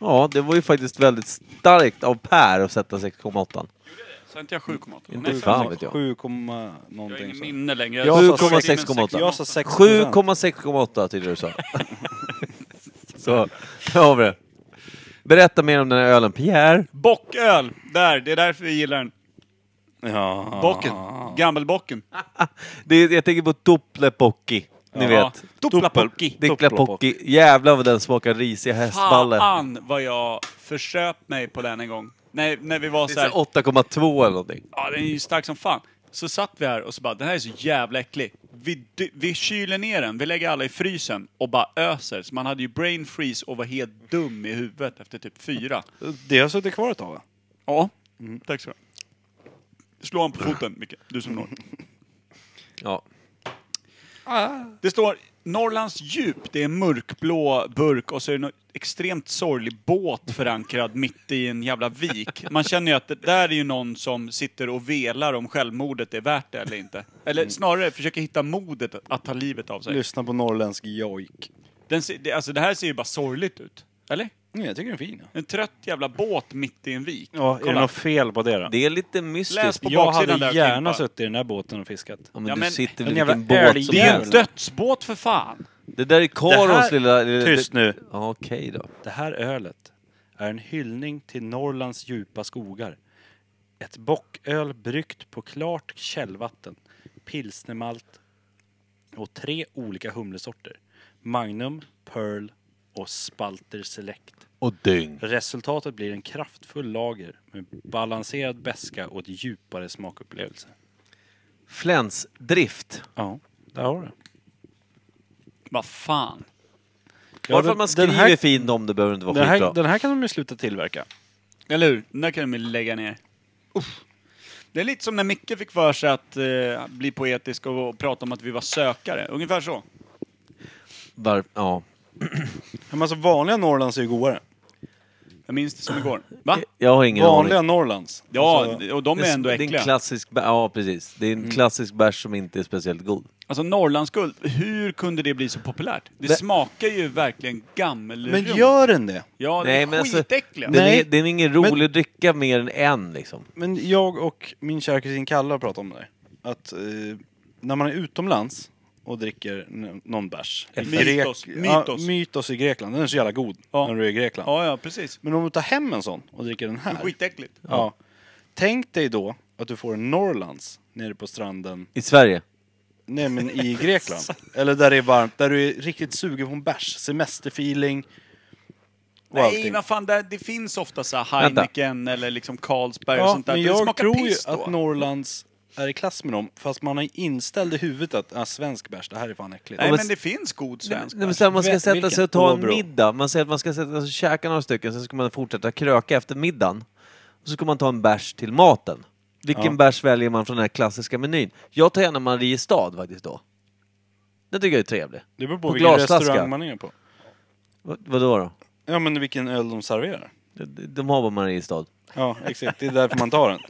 Speaker 3: Ja, det var ju faktiskt väldigt starkt av Per att sätta 6,8.
Speaker 2: Sa inte jag 7,8?
Speaker 3: Inte
Speaker 2: Nej,
Speaker 3: fan
Speaker 2: fem.
Speaker 3: vet jag.
Speaker 4: 7,
Speaker 2: Jag har
Speaker 4: någonting
Speaker 2: ingen
Speaker 4: så.
Speaker 2: minne längre.
Speaker 3: Jag
Speaker 2: Jag
Speaker 3: sa
Speaker 2: sa
Speaker 3: 6,8.
Speaker 4: Jag sa 6
Speaker 3: 7,6,8 tyckte du sa. Så, där har vi det. Berätta mer om den här ölen, Pierre.
Speaker 2: Bocköl! Där, det är därför vi gillar den.
Speaker 4: Ja.
Speaker 2: Bocken. Gammelbocken.
Speaker 3: Det är, jag tänker på Tuplepocki. Ni vet.
Speaker 2: Doppelpocki.
Speaker 3: Dicklapocki. Jävlar vad den smakar risiga hästballe.
Speaker 2: Fan vad jag försöp mig på den en gång. Nej, när vi var
Speaker 3: Det
Speaker 2: så
Speaker 3: är
Speaker 2: här,
Speaker 3: så här 8,2 eller någonting.
Speaker 2: ja den är ju stark som fan. Så satt vi här och så bara, den här är så jävla äcklig. Vi, dy- vi kyler ner den, vi lägger alla i frysen och bara öser. Så man hade ju brain freeze och var helt dum i huvudet efter typ fyra.
Speaker 4: Det har suttit kvar ett tag va?
Speaker 2: Ja.
Speaker 3: Mm.
Speaker 2: Tack så mycket. Slå han på foten, Micke. Du som når.
Speaker 3: Ja.
Speaker 2: Det står Norrlands djup, det är en mörkblå burk och så är det en extremt sorglig båt förankrad mitt i en jävla vik. Man känner ju att det där är ju någon som sitter och velar om självmordet är värt det eller inte.
Speaker 7: Mm.
Speaker 2: Eller snarare försöker hitta modet att ta livet av sig.
Speaker 4: Lyssna på norrländsk jojk.
Speaker 2: Den, ser- det- alltså det här ser ju bara sorgligt ut. Eller?
Speaker 4: Nej, jag tycker den är fin. Ja.
Speaker 2: En trött jävla båt mitt i en vik.
Speaker 7: Ja, är det något fel på det då?
Speaker 3: Det är lite
Speaker 2: Läs
Speaker 3: mystiskt.
Speaker 2: på
Speaker 7: jag
Speaker 2: baksidan där,
Speaker 7: hade gärna
Speaker 2: Kimpa.
Speaker 7: suttit i den där båten och fiskat.
Speaker 3: Ja, men
Speaker 2: Ja,
Speaker 3: du
Speaker 2: men-
Speaker 3: sitter
Speaker 4: en
Speaker 3: vid
Speaker 4: jävla
Speaker 3: vilken båt som
Speaker 4: älgjävel.
Speaker 2: Det är en
Speaker 3: helst.
Speaker 2: dödsbåt för fan!
Speaker 3: Det där är
Speaker 7: Det
Speaker 3: Karos
Speaker 7: här-
Speaker 3: lilla... lilla-
Speaker 7: Tyst nu.
Speaker 3: Ja, Okej då.
Speaker 7: Det här ölet är en hyllning till Norrlands djupa skogar. Ett bocköl bryggt på klart källvatten, pilsnermalt och tre olika humlesorter. Magnum, Pearl och Spalter Select.
Speaker 3: Och dyng.
Speaker 7: Resultatet blir en kraftfull lager med balanserad beska och ett djupare smakupplevelse.
Speaker 3: Flänsdrift.
Speaker 7: Ja, där har du
Speaker 2: Vad fan.
Speaker 3: Bara för
Speaker 7: den-
Speaker 3: att man skriver
Speaker 7: den här-
Speaker 3: fint om det behöver inte vara
Speaker 7: den
Speaker 3: skitbra.
Speaker 7: här, den här kan de ju sluta tillverka.
Speaker 2: Eller hur? Den där kan de lägga ner. Uff. Det är lite som när Micke fick för sig att eh, bli poetisk och, prata om att vi var sökare. Ungefär så.
Speaker 3: Var... Ja.
Speaker 4: Men alltså vanliga Norrlands är ju godare.
Speaker 2: Jag minns det som igår. Va?
Speaker 3: Jag har ingen
Speaker 4: Vanliga
Speaker 3: aning.
Speaker 4: Norrlands.
Speaker 2: Ja,
Speaker 4: Alltså,
Speaker 2: och de är ändå
Speaker 3: det är en
Speaker 2: äckliga.
Speaker 3: klassisk bär, ja precis. Det är en klassisk bärs som inte är speciellt god.
Speaker 2: Alltså Norrlandsguld, hur kunde det bli så populärt? Det
Speaker 3: Det-
Speaker 2: smakar ju verkligen gammelrum.
Speaker 4: men gör den det?
Speaker 2: Ja, det
Speaker 3: Nej,
Speaker 2: är
Speaker 3: men alltså,
Speaker 2: skitäckliga.
Speaker 3: Den
Speaker 4: Nej.
Speaker 3: är, den är ingen rolig
Speaker 4: Men-
Speaker 3: att dricka mer än en liksom.
Speaker 4: Men jag och min kära kusin Kalle har pratat om det där. Att eh, när man är utomlands och dricker n- någon bärs. i
Speaker 2: Mytos.
Speaker 4: Grek- ja,
Speaker 2: Mytos.
Speaker 4: mytos i Grekland. Den är så jävla god
Speaker 2: Ja.
Speaker 4: när du är i Grekland.
Speaker 2: Ja, ja, precis.
Speaker 4: Men om du tar hem en sån och dricker den här.
Speaker 2: Skitäckligt.
Speaker 4: Ja. Tänk dig då att du får en Norrlands nere på stranden,
Speaker 3: I Sverige.
Speaker 4: nej men i Grekland. Eller där det är varmt, där du är riktigt sugen på en bärs, semesterfeeling och
Speaker 2: Nej,
Speaker 4: allting.
Speaker 2: vad fan, det, det finns ofta så här Heineken eller liksom Carlsberg och
Speaker 4: ja,
Speaker 2: sånt där.
Speaker 4: men
Speaker 2: Det
Speaker 4: jag
Speaker 2: smakar
Speaker 4: tror ju
Speaker 2: piss då.
Speaker 4: att Norrlands är i klass med dem, fast man har inställd i huvudet att ah, svensk bärs, det här är fan äckligt.
Speaker 2: Nej,
Speaker 3: men-
Speaker 2: men det finns god svensk
Speaker 3: Nej, men
Speaker 2: bärs.
Speaker 3: sen man ska
Speaker 4: Vet-
Speaker 3: sätta
Speaker 4: vilken?
Speaker 3: sig och ta en
Speaker 4: Åbro.
Speaker 3: middag. Man säger att man ska sätta sig och käka några stycken, sen ska man fortsätta kröka efter middagen. Och så ska man ta en bärs till maten. Vilken bärs väljer man från den här klassiska menyn? Jag tar gärna Mariestad faktiskt då. Den tycker jag är trevlig.
Speaker 4: Det beror på
Speaker 3: på
Speaker 4: vilken
Speaker 3: glasflaska.
Speaker 4: restaurang man är på.
Speaker 3: Vad, vadå då?
Speaker 4: Ja men vilken öl de serverar.
Speaker 3: De, de har bara Mariestad.
Speaker 4: Ja, exakt. Det är därför man
Speaker 2: *laughs*
Speaker 4: tar den.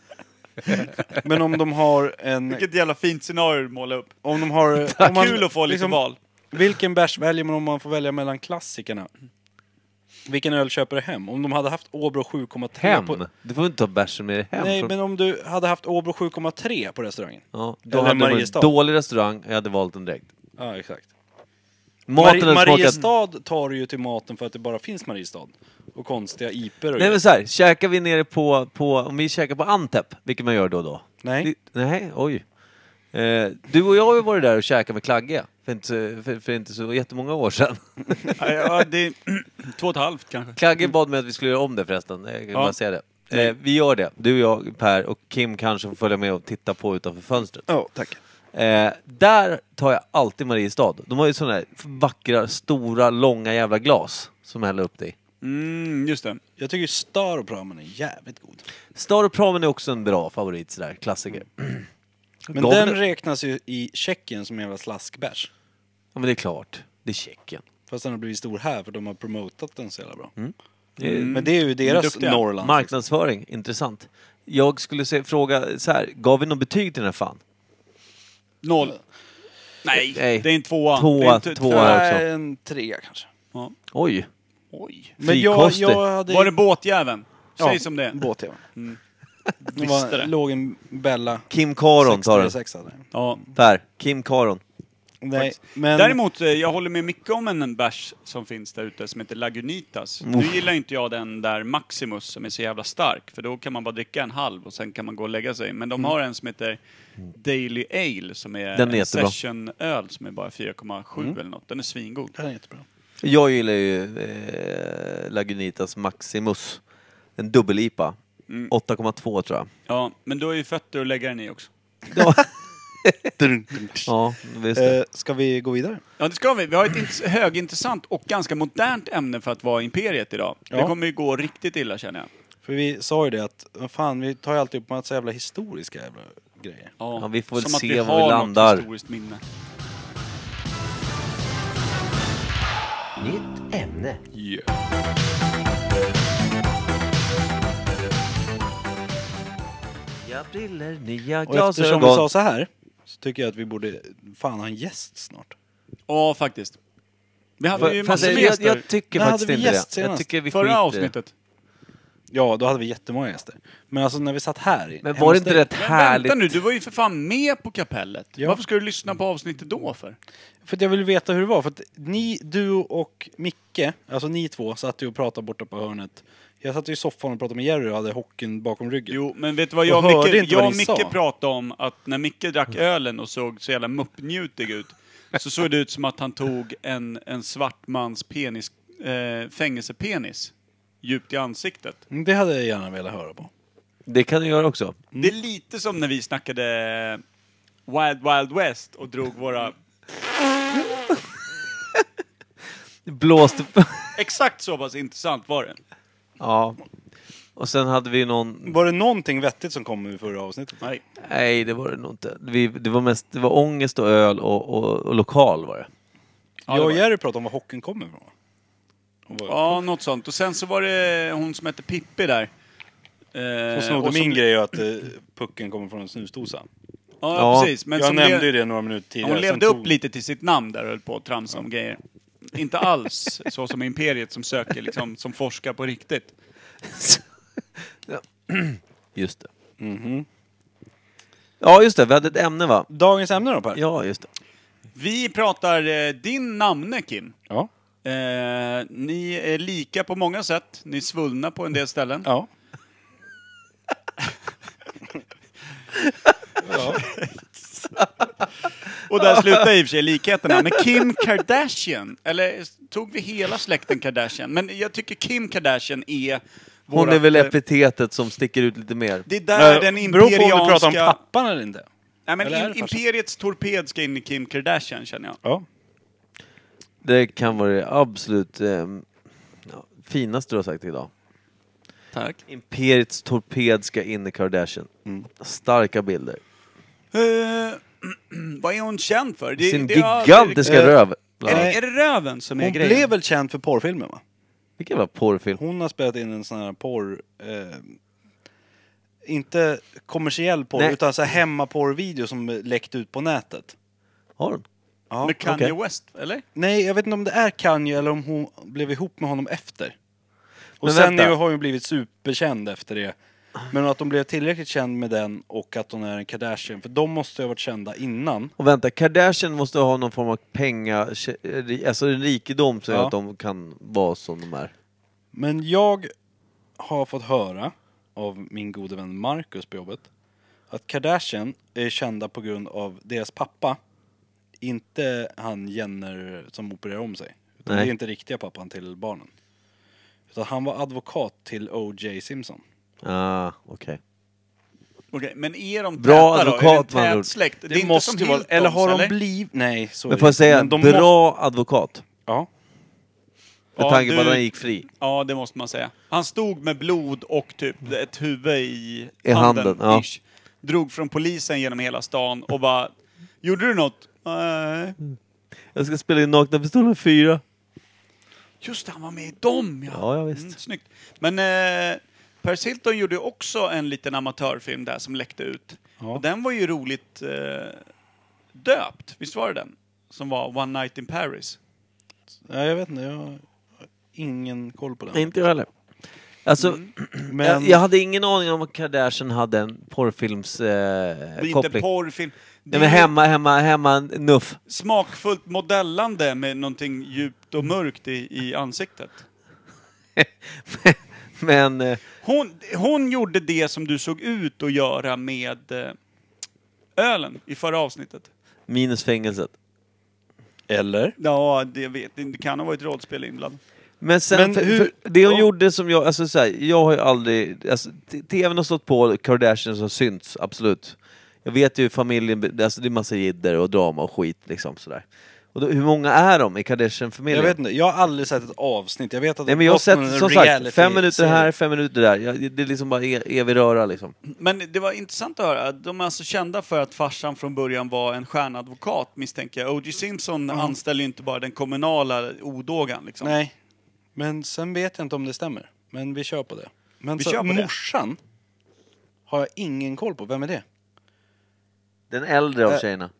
Speaker 4: Men om de har en...
Speaker 2: Vilket jävla fint scenario du målar upp.
Speaker 4: Om de
Speaker 2: *laughs*
Speaker 4: har... Om man,
Speaker 2: Kul att få lite
Speaker 4: liksom,
Speaker 2: val.
Speaker 4: Vilken bärs väljer man om man får välja mellan klassikerna? Vilken öl köper du hem? Om de hade haft Åbro 7,3
Speaker 3: Hem?
Speaker 4: på...
Speaker 3: Du får inte ta bärs som är hem.
Speaker 4: Nej,
Speaker 3: från-
Speaker 4: men om du hade haft Åbro 7,3 på restaurangen.
Speaker 3: ja, då
Speaker 4: eller
Speaker 3: hade det varit
Speaker 4: Mariestad.
Speaker 3: dålig restaurang, jag hade valt den direkt.
Speaker 4: Ja, exakt.
Speaker 3: Maten hade smakat...
Speaker 4: Mariestad tar ju till maten för att det bara finns Mariestad. Och konstiga iper och
Speaker 3: Nej
Speaker 4: grejer.
Speaker 3: men så här, käkar vi nere på, på... Om vi käkar på Antep, vilket man gör då och då.
Speaker 4: Nej.
Speaker 3: Det, nej, oj. Eh, du och jag har ju varit där och käkat med Klagge. För inte, så- för, för inte så jättemånga år sedan.
Speaker 2: *laughs*
Speaker 3: *laughs*
Speaker 2: Ja, ja, det är två och ett halvt kanske.
Speaker 3: Klagge bad mig att vi skulle göra om det förresten. Jag kan
Speaker 2: Ja.
Speaker 3: bara säga det. Eh, vi gör det. Du, jag, Per och Kim kanske får följa med och titta på utanför fönstret.
Speaker 4: Ja, tack.
Speaker 3: Eh, där tar jag alltid Mariestad. De har ju sådana här vackra, stora, långa jävla glas som häller upp dig.
Speaker 2: Mm, just det.
Speaker 4: Jag tycker ju Star och Pramen är jävligt god.
Speaker 3: Star och Pramen är också en bra favorit sådär, klassiker.
Speaker 4: Mm. Men
Speaker 3: Gav
Speaker 4: den
Speaker 3: det-
Speaker 4: räknas ju i Tjeckien som en jävla slaskbärs.
Speaker 3: Ja men det är klart, det är Tjeckien.
Speaker 4: Fast den har blivit stor här för de har promotat den så jävla bra.
Speaker 3: Mm. Det är
Speaker 4: Men det är
Speaker 3: Mm.
Speaker 4: ju deras
Speaker 2: duktiga.
Speaker 4: Mm. Norrland.
Speaker 3: Marknadsföring, intressant. Jag skulle se, fråga så här, gav vi något betyg till den här fan?
Speaker 2: Noll. Nej,
Speaker 3: Nej.
Speaker 2: det är en tvåa.
Speaker 3: Tvåa,
Speaker 2: det är inte-
Speaker 3: tvåa.
Speaker 2: två-
Speaker 3: också.
Speaker 4: Nej, Äh, en trea kanske.
Speaker 2: Ja.
Speaker 3: Oj!
Speaker 2: Oj.
Speaker 4: Men jag,
Speaker 3: Frikostig.
Speaker 4: jag hade...
Speaker 2: Var det båtjäveln? Säg
Speaker 4: Ja,
Speaker 2: som det är. Mm.
Speaker 4: Båt, ja. Mm.
Speaker 2: *laughs*
Speaker 4: Det
Speaker 2: Visste
Speaker 4: var,
Speaker 2: det.
Speaker 4: låg en Bella
Speaker 3: Kim Karon tar den.
Speaker 4: 66 hade den.
Speaker 2: Ja.
Speaker 3: Per, Kim Karon.
Speaker 4: Nej,
Speaker 2: Faktiskt.
Speaker 4: men...
Speaker 2: Däremot, eh, jag håller med mycket om en bärs som finns där ute som heter Lagunitas. Nu gillar inte jag den där Maximus som är så jävla stark, för då kan man bara dricka en halv och sen kan man gå och lägga sig. Men de har en som heter Daily Ale som är
Speaker 3: Den är
Speaker 2: en
Speaker 3: jättebra.
Speaker 2: sessionöl som är bara 4,7 eller något. Den är svingod.
Speaker 4: Den är jättebra.
Speaker 3: Jag gillar ju eh, Lagunitas Maximus. En dubbel-IPA.
Speaker 4: Mm.
Speaker 3: 8,2 tror jag.
Speaker 2: Ja, men du har ju fötter att lägga den i också.
Speaker 3: Ja, visst det.
Speaker 4: Eh, ska vi gå vidare?
Speaker 2: Ja, det ska vi. Vi har ett int- högintressant och ganska modernt ämne för att vara Imperiet idag. Det
Speaker 4: Ja.
Speaker 2: kommer ju gå riktigt illa känner jag.
Speaker 4: För vi sa ju det att, vad fan, vi tar ju alltid upp massa jävla historiska jävla grejer.
Speaker 2: Ja,
Speaker 3: vi får väl
Speaker 2: som att
Speaker 3: se
Speaker 2: vi
Speaker 3: var vi
Speaker 2: har något
Speaker 3: landar.
Speaker 2: historiskt minne.
Speaker 8: Nytt ämne.
Speaker 3: Nya briller, nya
Speaker 4: Och eftersom vi sa
Speaker 3: glasögon.
Speaker 4: så här, så tycker jag att vi borde fan ha en gäst snart.
Speaker 2: Ja, faktiskt. Vi hade ju
Speaker 3: Fast
Speaker 2: massor
Speaker 3: jag,
Speaker 2: med
Speaker 3: jag,
Speaker 2: gäster.
Speaker 3: jag tycker
Speaker 4: När
Speaker 3: faktiskt
Speaker 4: hade vi
Speaker 3: inte
Speaker 4: gäst
Speaker 3: det. Jag
Speaker 4: senast?
Speaker 3: tycker vi skiter i
Speaker 2: Förra
Speaker 3: det.
Speaker 2: avsnittet.
Speaker 4: Ja, då hade vi jättemånga gäster. Men alltså när vi satt här i
Speaker 3: Men var det
Speaker 4: hemställan-
Speaker 3: inte rätt
Speaker 2: Men
Speaker 3: härligt?
Speaker 2: vänta nu, du var ju för fan med på kapellet. Varför ska du lyssna på avsnittet då för?
Speaker 4: För att jag vill veta hur det var. För att ni, du och Micke, alltså ni två, satt ju och pratade borta på hörnet. Jag satt ju i soffan och pratade med Jerry och hade hockeyn bakom ryggen.
Speaker 2: Jo, men vet du vad Mm.
Speaker 4: Och
Speaker 2: jag och
Speaker 4: hörde
Speaker 2: Micke,
Speaker 4: inte vad
Speaker 2: jag och
Speaker 4: ni
Speaker 2: Micke
Speaker 4: sa.
Speaker 2: pratade om? Att när Micke drack ölen och såg så jävla muppnjutig ut, så såg det ut som att han tog en, en svart mans penis, eh, fängelsepenis djupt i ansiktet.
Speaker 4: Mm, Det hade jag gärna velat höra på.
Speaker 3: Det kan du göra också.
Speaker 2: Det är lite som när vi snackade eh, Wild Wild West och drog våra...
Speaker 3: Blåste...
Speaker 2: Exakt så pass intressant var det.
Speaker 3: *laughs* ja. Och sen hade vi någon...
Speaker 4: Var det någonting vettigt som kom ur förra avsnittet?
Speaker 2: Nej.
Speaker 3: Nej, det var det nog inte. Vi, det, var mest, det var ångest och öl och, och, och lokal var det.
Speaker 4: jag och Jerry pratade om var hockeyn kommer ifrån. Och vad-
Speaker 2: Ja, något sånt. Och sen så var det hon som hette Pippi där. Eh,
Speaker 4: Och snodde
Speaker 2: och som-
Speaker 4: min grej är att eh, pucken kommer från en snusdosa.
Speaker 2: Ja,
Speaker 3: Ja.
Speaker 2: precis. Men
Speaker 4: jag
Speaker 2: som
Speaker 4: nämnde ju
Speaker 2: le-
Speaker 4: det några minuter tidigare.
Speaker 2: Hon
Speaker 4: sen
Speaker 2: levde upp
Speaker 4: tog-
Speaker 2: lite till sitt namn där och höll på och tramsa om grejer. Inte alls så som Imperiet som söker, liksom, som forskar på riktigt.
Speaker 3: Just det.
Speaker 2: Mhm.
Speaker 3: Ja, just det. Vi hade ett ämne va?
Speaker 4: Dagens ämne då Per?
Speaker 3: Ja, just det.
Speaker 2: Vi pratar eh, din namne, Kim.
Speaker 4: Ja.
Speaker 2: Eh, ni är lika på många sätt. Ni är svullna på en del ställen.
Speaker 4: Ja.
Speaker 2: Och där slutar i och för sig likheterna. Men Kim Kardashian, eller tog vi hela släkten Kardashian? Men jag tycker Kim Kardashian är...
Speaker 3: Hon
Speaker 2: vårat,
Speaker 3: är väl
Speaker 2: eh,
Speaker 3: epitetet som sticker ut lite mer.
Speaker 2: Det är där den
Speaker 4: Beror på om du pratar om
Speaker 2: imperianska...
Speaker 4: pappan eller inte.
Speaker 2: Nej, men
Speaker 4: Eller är
Speaker 2: in,
Speaker 4: det farsan?
Speaker 2: imperiets torped ska in i Kim Kardashian, känner jag.
Speaker 4: Ja.
Speaker 3: Det kan vara det absolut eh, ja, finaste du har sagt idag.
Speaker 2: Tack. Mm.
Speaker 3: Imperiets torped ska in i Kardashian. Starka bilder.
Speaker 2: Eh, *clears throat* vad är hon känd för? Det,
Speaker 3: Sin
Speaker 2: det- ja,
Speaker 3: gigantiska
Speaker 4: eh,
Speaker 3: röv.
Speaker 2: Är,
Speaker 3: Bland
Speaker 2: det,
Speaker 3: annat.
Speaker 2: är det röven som är
Speaker 4: Hon
Speaker 2: grejen?
Speaker 4: blev väl känd för porrfilmen va?
Speaker 3: Vilken jävla porrfilm.
Speaker 4: Hon har spelat in en sån här porr... Eh, inte kommersiell porr,
Speaker 3: Nej.
Speaker 4: utan så här hemmaporrvideo som läckt ut på nätet.
Speaker 3: Har hon?
Speaker 4: Ja.
Speaker 2: Med Kanye
Speaker 3: okej.
Speaker 2: West, eller?
Speaker 4: Nej, jag vet inte om det är Kanye eller om hon blev ihop med honom efter. Och
Speaker 3: Men
Speaker 4: sen
Speaker 3: vänta.
Speaker 4: är, har hon blivit superkänd efter det. Men att de blev tillräckligt känd med den och att hon är en Kardashian, för de måste ju ha varit kända innan.
Speaker 3: Och vänta, Kardashian måste ha någon form av penga, alltså en rikedom så
Speaker 4: Ja.
Speaker 3: att de kan vara som de är.
Speaker 4: Men jag har fått höra av min gode vän Marcus på jobbet att Kardashian är kända på grund av deras pappa. Inte han Jenner som opererar om sig. Utan
Speaker 3: Nej.
Speaker 4: det är inte riktiga pappan till barnen. Utan han var advokat till O.J. Simpson.
Speaker 3: Ah, okej.
Speaker 2: Okej, men är de
Speaker 3: Bra
Speaker 2: täta då?
Speaker 3: advokat,
Speaker 2: är
Speaker 3: med
Speaker 2: det
Speaker 3: andra
Speaker 2: en
Speaker 3: ord.
Speaker 2: tät släkt? Det, är
Speaker 4: Det
Speaker 2: inte
Speaker 4: måste
Speaker 2: som
Speaker 4: ju vara...
Speaker 2: Hiltons,
Speaker 4: Eller har de
Speaker 2: eller?
Speaker 4: blivit... Nej, så är
Speaker 3: Men
Speaker 4: det
Speaker 3: får jag
Speaker 4: inte.
Speaker 3: säga,
Speaker 4: Men de måste-
Speaker 3: bra advokat.
Speaker 4: Ja.
Speaker 3: Med
Speaker 2: Ja,
Speaker 3: tanke på
Speaker 2: du-
Speaker 3: att han gick fri.
Speaker 2: Ja, det måste man säga. Han stod med blod och typ ett huvud i,
Speaker 3: I handen, ja.
Speaker 2: ish. Drog från polisen genom hela stan och bara... Gjorde du något? Nej.
Speaker 3: Jag ska spela in Nakna Pistolen 4.
Speaker 2: Just det, han var med i dem ja!
Speaker 3: Ja,
Speaker 2: Mm,
Speaker 3: ja, visst.
Speaker 2: snyggt. Men eh, Paris Hilton gjorde ju också en liten amatörfilm där som läckte ut. Och den var ju roligt eh, döpt, visst var det den? Som var One Night in Paris.
Speaker 4: ja, jag vet inte. Jag har ingen koll på
Speaker 3: Nej,
Speaker 4: den.
Speaker 3: inte jag heller. Alltså, *clears throat*
Speaker 4: Men...
Speaker 3: jag, jag hade ingen aning om att Kardashian hade en porrfilms
Speaker 2: Det är
Speaker 3: eh,
Speaker 2: inte
Speaker 3: koppling.
Speaker 2: porrfilm. Det
Speaker 3: Nej
Speaker 2: är
Speaker 3: men hemma, hemma, hemma, nuff. *laughs*
Speaker 2: smakfullt modellande med någonting djupt och mörkt i, i ansiktet.
Speaker 3: Men, eh,
Speaker 2: Hon, hon gjorde det som du såg ut att göra med eh, ölen i förra avsnittet.
Speaker 3: minus fängelset.
Speaker 4: Eller?
Speaker 2: Ja, det vet jag. Det kan ha varit rollspel inblandat.
Speaker 3: Men sen,
Speaker 4: Men
Speaker 3: för,
Speaker 4: hur-
Speaker 3: för det hon
Speaker 4: ja.
Speaker 3: gjorde som jag, alltså så här, jag har ju aldrig, alltså t- tvn har stått på, Kardashian har synts, absolut. Jag vet ju hur familjen, alltså det är massa jidder och drama och skit liksom sådär. Och då, hur många är de i Kardashian-familjen?
Speaker 4: Jag vet inte, jag har aldrig sett ett avsnitt. Jag vet att
Speaker 3: Nej
Speaker 4: det
Speaker 3: men jag har
Speaker 4: gått
Speaker 3: sett,
Speaker 4: någon
Speaker 3: som sagt,
Speaker 4: reality-
Speaker 3: fem minuter här, fem minuter där. Jag, det- det är liksom bara e- evig röra liksom.
Speaker 2: Men det var intressant att höra. De är alltså kända för att farsan från början var en stjärnadvokat misstänker jag. O.J. Simpson anställer ju inte bara den kommunala odågan liksom.
Speaker 4: Nej. Men sen vet jag inte om det stämmer. Men vi kör på det. Men
Speaker 2: Vi
Speaker 4: så,
Speaker 2: kör på det.
Speaker 4: morsan har jag ingen koll på. Vem är det?
Speaker 3: Den äldre av
Speaker 4: Ä-
Speaker 3: tjejerna.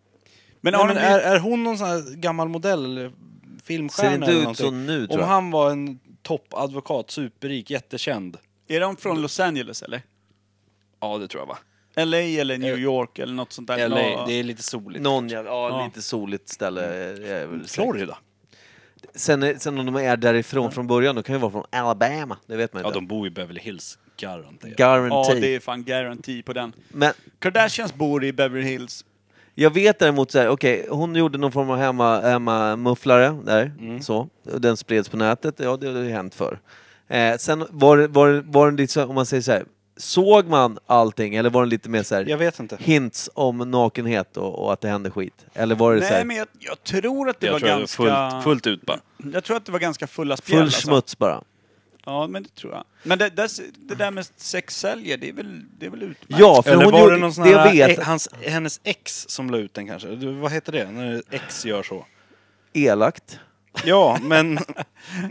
Speaker 2: Men,
Speaker 4: Nej,
Speaker 2: har
Speaker 4: men
Speaker 2: de
Speaker 4: är, är hon någon sån här gammal modell eller filmstjärna
Speaker 3: Ser inte
Speaker 4: eller
Speaker 3: ut
Speaker 4: någonting?
Speaker 3: så nu, tror
Speaker 4: Om
Speaker 3: jag.
Speaker 4: han var en toppadvokat, superrik, jättekänd.
Speaker 2: är de från Los Angeles eller?
Speaker 4: Ja, det tror jag va?
Speaker 2: LA eller New York eller något sånt där?
Speaker 4: Eller
Speaker 2: Ja.
Speaker 4: det är lite soligt.
Speaker 3: Någon jävla, ja,
Speaker 2: Ja.
Speaker 3: lite soligt ställe. eh, är väl säkert.
Speaker 4: Florida?
Speaker 3: Sen, är- sen om de är därifrån från början, då kan ju vara från Alabama. Det vet man
Speaker 4: Ja,
Speaker 3: inte.
Speaker 4: de bor i Beverly Hills, garanterat.
Speaker 2: Ja,
Speaker 3: Guarantee.
Speaker 2: det är fan garanti på den.
Speaker 3: Men
Speaker 2: Kardashians bor i Beverly Hills.
Speaker 3: jag vet däremot så här, okej, hon gjorde någon form av hemma, hemma mufflare där,
Speaker 4: Mm.
Speaker 3: så. Och Den spreds på nätet, ja det har ju hänt förr. Eh, sen var det, var det, var det lite så, om man säger så här, såg man allting eller var det lite mer så här,
Speaker 4: Jag vet inte.
Speaker 3: hints om nakenhet och, och att det hände skit? Eller var det så
Speaker 2: Nej,
Speaker 3: här,
Speaker 2: men jag, jag tror att det var
Speaker 4: jag tror jag
Speaker 2: ganska...
Speaker 4: fullt, fullt ut bara.
Speaker 2: Jag tror att det var ganska fulla spjäll.
Speaker 3: full
Speaker 2: alltså.
Speaker 3: smuts bara?
Speaker 2: Ja, men det tror jag. Men det, det, det där med sex säljer, det är väl, det är väl utmärkt?
Speaker 3: Ja, för
Speaker 4: Eller
Speaker 3: hon
Speaker 4: var
Speaker 3: gjorde,
Speaker 4: det någon sån
Speaker 3: det jag
Speaker 4: här,
Speaker 3: vet,
Speaker 4: eh, hans, hennes ex som la ut den kanske? Du, vad heter det, när ex gör så?
Speaker 3: elakt.
Speaker 4: Ja,
Speaker 3: *laughs*
Speaker 4: men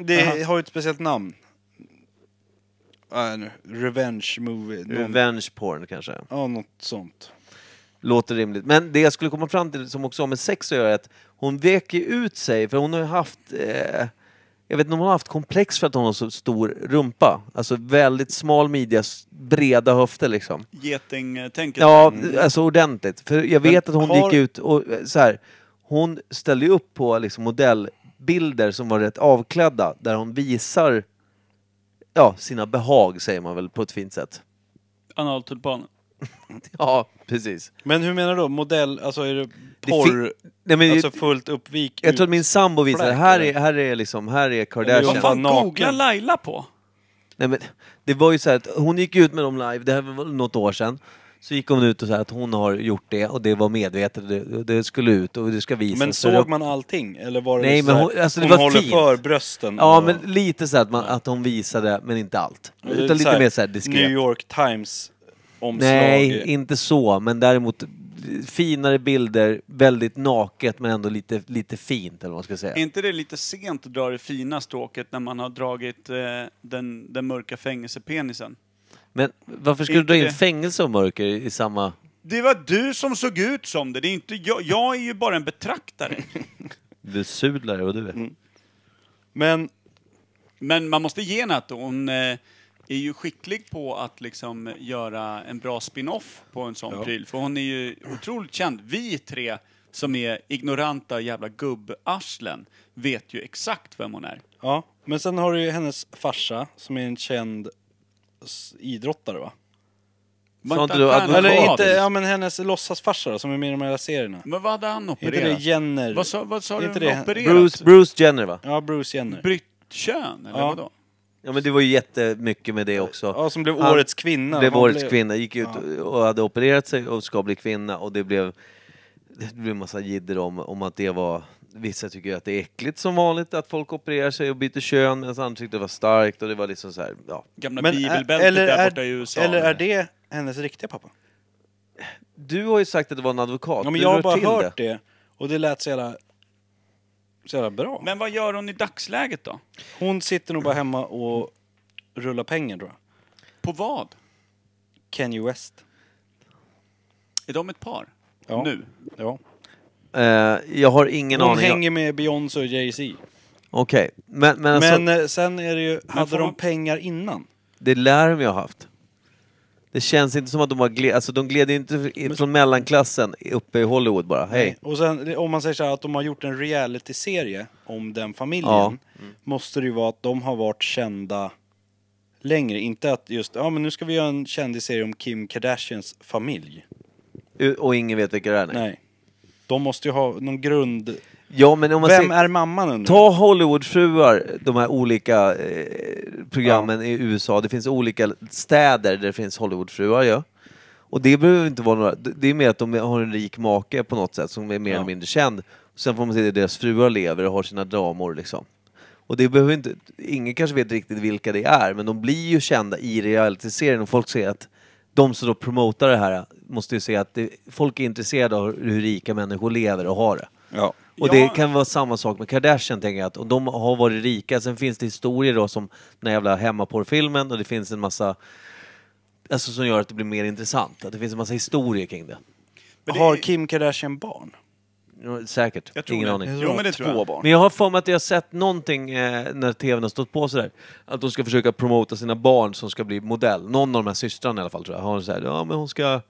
Speaker 4: det har ju ett speciellt namn. Äh, nu, revenge movie. Någon,
Speaker 3: Revenge porn kanske.
Speaker 4: Ja, något sånt.
Speaker 3: Låter rimligt. Men det jag skulle komma fram till som också har med sex att göra är att hon väcker ut sig för hon har ju haft eh, jag vet inte om hon har haft komplex för att hon har så stor rumpa. Alltså väldigt smal midja, s- breda höfter liksom.
Speaker 2: Getingtänket.
Speaker 3: Ja, alltså ordentligt. För jag vet
Speaker 4: Men
Speaker 3: att hon
Speaker 4: har-
Speaker 3: gick ut och eh, så här, hon ställde ju upp på liksom modellbilder som var rätt avklädda där hon visar ja, sina behag säger man väl på ett fint sätt.
Speaker 2: Analtulpanen.
Speaker 3: Ja, precis.
Speaker 4: Men hur menar du? Modell, alltså är det
Speaker 3: Det
Speaker 4: porr?
Speaker 3: fin- Nej, men
Speaker 4: alltså fullt uppvik?
Speaker 3: Jag tror att min sambo visade,
Speaker 4: fläk,
Speaker 3: här är,
Speaker 4: eller?
Speaker 3: här är liksom, här är
Speaker 4: Eller
Speaker 2: Vad
Speaker 3: Kardashian.
Speaker 4: vad
Speaker 2: fan
Speaker 4: Naken.
Speaker 2: googlar Laila på?
Speaker 3: Nej, men, det var ju så här att hon gick ut med dem live, det här var väl något år sedan. Så gick hon ut och sa att hon har gjort det och det var medvetet och det, och det skulle ut och det ska visas.
Speaker 4: men
Speaker 3: Så det-
Speaker 4: såg man allting? Eller var det
Speaker 3: Nej,
Speaker 4: så
Speaker 3: men
Speaker 4: här,
Speaker 3: hon- alltså, det var
Speaker 4: hon håller
Speaker 3: fint.
Speaker 4: för brösten?
Speaker 3: Ja
Speaker 4: och-
Speaker 3: men lite så här att, man, att hon visade, men inte allt.
Speaker 4: och det är
Speaker 3: Utan lite
Speaker 4: här,
Speaker 3: mer så här
Speaker 4: New
Speaker 3: diskret.
Speaker 4: York Times omslag.
Speaker 3: Nej, inte så, men däremot finare bilder, väldigt naket men ändå lite, lite fint eller vad man ska säga.
Speaker 2: Är inte det lite sent att dra det fina stråket när man har dragit eh, den, den mörka fängelsepenisen?
Speaker 3: Men varför skulle du
Speaker 2: Inte
Speaker 3: dra in
Speaker 2: det.
Speaker 3: fängelse och mörker i, i samma...
Speaker 2: Det var du som såg ut som det, det är inte jag. Jag är ju bara en *laughs* betraktare.
Speaker 4: Mm.
Speaker 3: Besudlare och du är.
Speaker 4: Men
Speaker 2: Men man måste ge henne att hon, eh, är ju skicklig på att liksom göra en bra spin-off på en sån
Speaker 4: Ja.
Speaker 2: pryl. För hon är ju otroligt känd. Vi tre som är ignoranta jävla gubbarslen vet ju exakt vem hon är.
Speaker 4: Ja, men sen har du ju hennes farsa som är en känd s- idrottare va?
Speaker 2: Var
Speaker 3: Sa
Speaker 2: inte
Speaker 3: inte du
Speaker 2: han
Speaker 3: advokat?
Speaker 2: stjärna-
Speaker 4: Eller
Speaker 3: Adel.
Speaker 4: inte, ja men hennes låtsasfarsa då, som är med i de här serierna.
Speaker 2: Men vad hade han
Speaker 4: Är inte det
Speaker 2: opererat?
Speaker 4: Jenner?
Speaker 2: vad sa, vad sa
Speaker 4: är
Speaker 2: du?
Speaker 4: inte
Speaker 2: Det,
Speaker 4: det-
Speaker 2: opererat?
Speaker 3: Bruce, Bruce Jenner va?
Speaker 4: Ja, Bruce Jenner.
Speaker 2: Bryttkön, eller
Speaker 4: Ja.
Speaker 2: vadå?
Speaker 3: Ja men det var ju jättemycket med det också.
Speaker 4: Ja, som blev
Speaker 3: Han
Speaker 4: årets kvinna.
Speaker 3: Blev
Speaker 4: Hon
Speaker 3: årets
Speaker 4: blev-
Speaker 3: kvinna, gick ut och hade opererat sig och ska bli kvinna och det blev... Det blev massa jidder om, om att det var... Vissa tycker ju att det är äckligt som vanligt att folk opererar sig och byter kön medan andra tyckte det var starkt och det var liksom så här, ja.
Speaker 2: Gamla
Speaker 4: Men är-
Speaker 2: bibelbältet
Speaker 4: eller
Speaker 2: där
Speaker 4: är-
Speaker 2: borta i USA.
Speaker 4: Eller är det hennes riktiga pappa?
Speaker 3: Du har ju sagt att det var en advokat,
Speaker 4: Ja, men
Speaker 3: du
Speaker 4: jag har
Speaker 3: rör
Speaker 4: bara
Speaker 3: till
Speaker 4: hört det. och det lät så jävla, så jävla bra.
Speaker 2: Men vad gör hon i dagsläget då?
Speaker 4: Hon sitter nog bara hemma och rullar pengar tror jag.
Speaker 2: På vad?
Speaker 4: Kanye West.
Speaker 2: Är de ett par?
Speaker 4: Ja.
Speaker 2: Nu?
Speaker 4: Ja.
Speaker 3: Eh, jag har ingen
Speaker 4: Hon
Speaker 3: aning.
Speaker 4: hänger med Beyoncé och Jay-Z.
Speaker 3: Okej, men, men, alltså,
Speaker 4: Men eh, sen är det ju, hade
Speaker 2: får
Speaker 4: de
Speaker 2: man-
Speaker 4: pengar innan?
Speaker 3: det lär de ju ha haft. Det känns inte som att de har gled, alltså de gled ju inte i- från mellanklassen uppe i Hollywood bara, hej.
Speaker 4: Och sen om man säger så här att de har gjort en reality-serie om den familjen.
Speaker 3: Ja.
Speaker 2: Mm.
Speaker 4: Måste det ju vara att de har varit kända längre. Inte att just, ja men nu ska vi göra en kändisserie om Kim Kardashians familj.
Speaker 3: U- Och ingen vet vilka det är. Nej.
Speaker 4: Nej. De måste ju ha någon grund...
Speaker 3: Ja men om man
Speaker 4: Vem
Speaker 3: säger,
Speaker 4: är mamman nu?
Speaker 3: ta Hollywoodfruar, de här olika eh, programmen i USA, det finns olika städer där det finns Hollywoodfruar ja. Och det behöver inte vara några, det det är mer att de har en rik make på något sätt som är mer eller mindre känd. Sen får man se att deras fruar lever och har sina dramor liksom. Och det behöver inte, ingen kanske vet riktigt vilka det är, men de blir ju kända i realityserien och folk ser att de som då promotar det här måste ju se att det, folk är intresserade av hur rika människor lever och har det.
Speaker 4: Ja.
Speaker 3: Och
Speaker 2: Ja.
Speaker 3: det kan vara samma sak med Kardashian tänker jag, att och de har varit rika. Sen finns det historier då som den här jävla hemmaporrfilmen och det finns en massa, alltså som gör att det blir mer intressant. Att det finns en massa historier kring det.
Speaker 2: Men det-
Speaker 4: Har Kim Kardashian barn?
Speaker 3: Ja, Säkert,
Speaker 2: Jag tror
Speaker 3: ingen
Speaker 2: det.
Speaker 3: aning.
Speaker 2: Jo, men det tror jag.
Speaker 3: Men jag har för mig att jag har sett någonting eh, när tvn har stått på sådär. Att de ska försöka promota sina barn som ska bli modell. Någon av de här systrarna i alla fall tror jag. Har så här, ja men hon ska...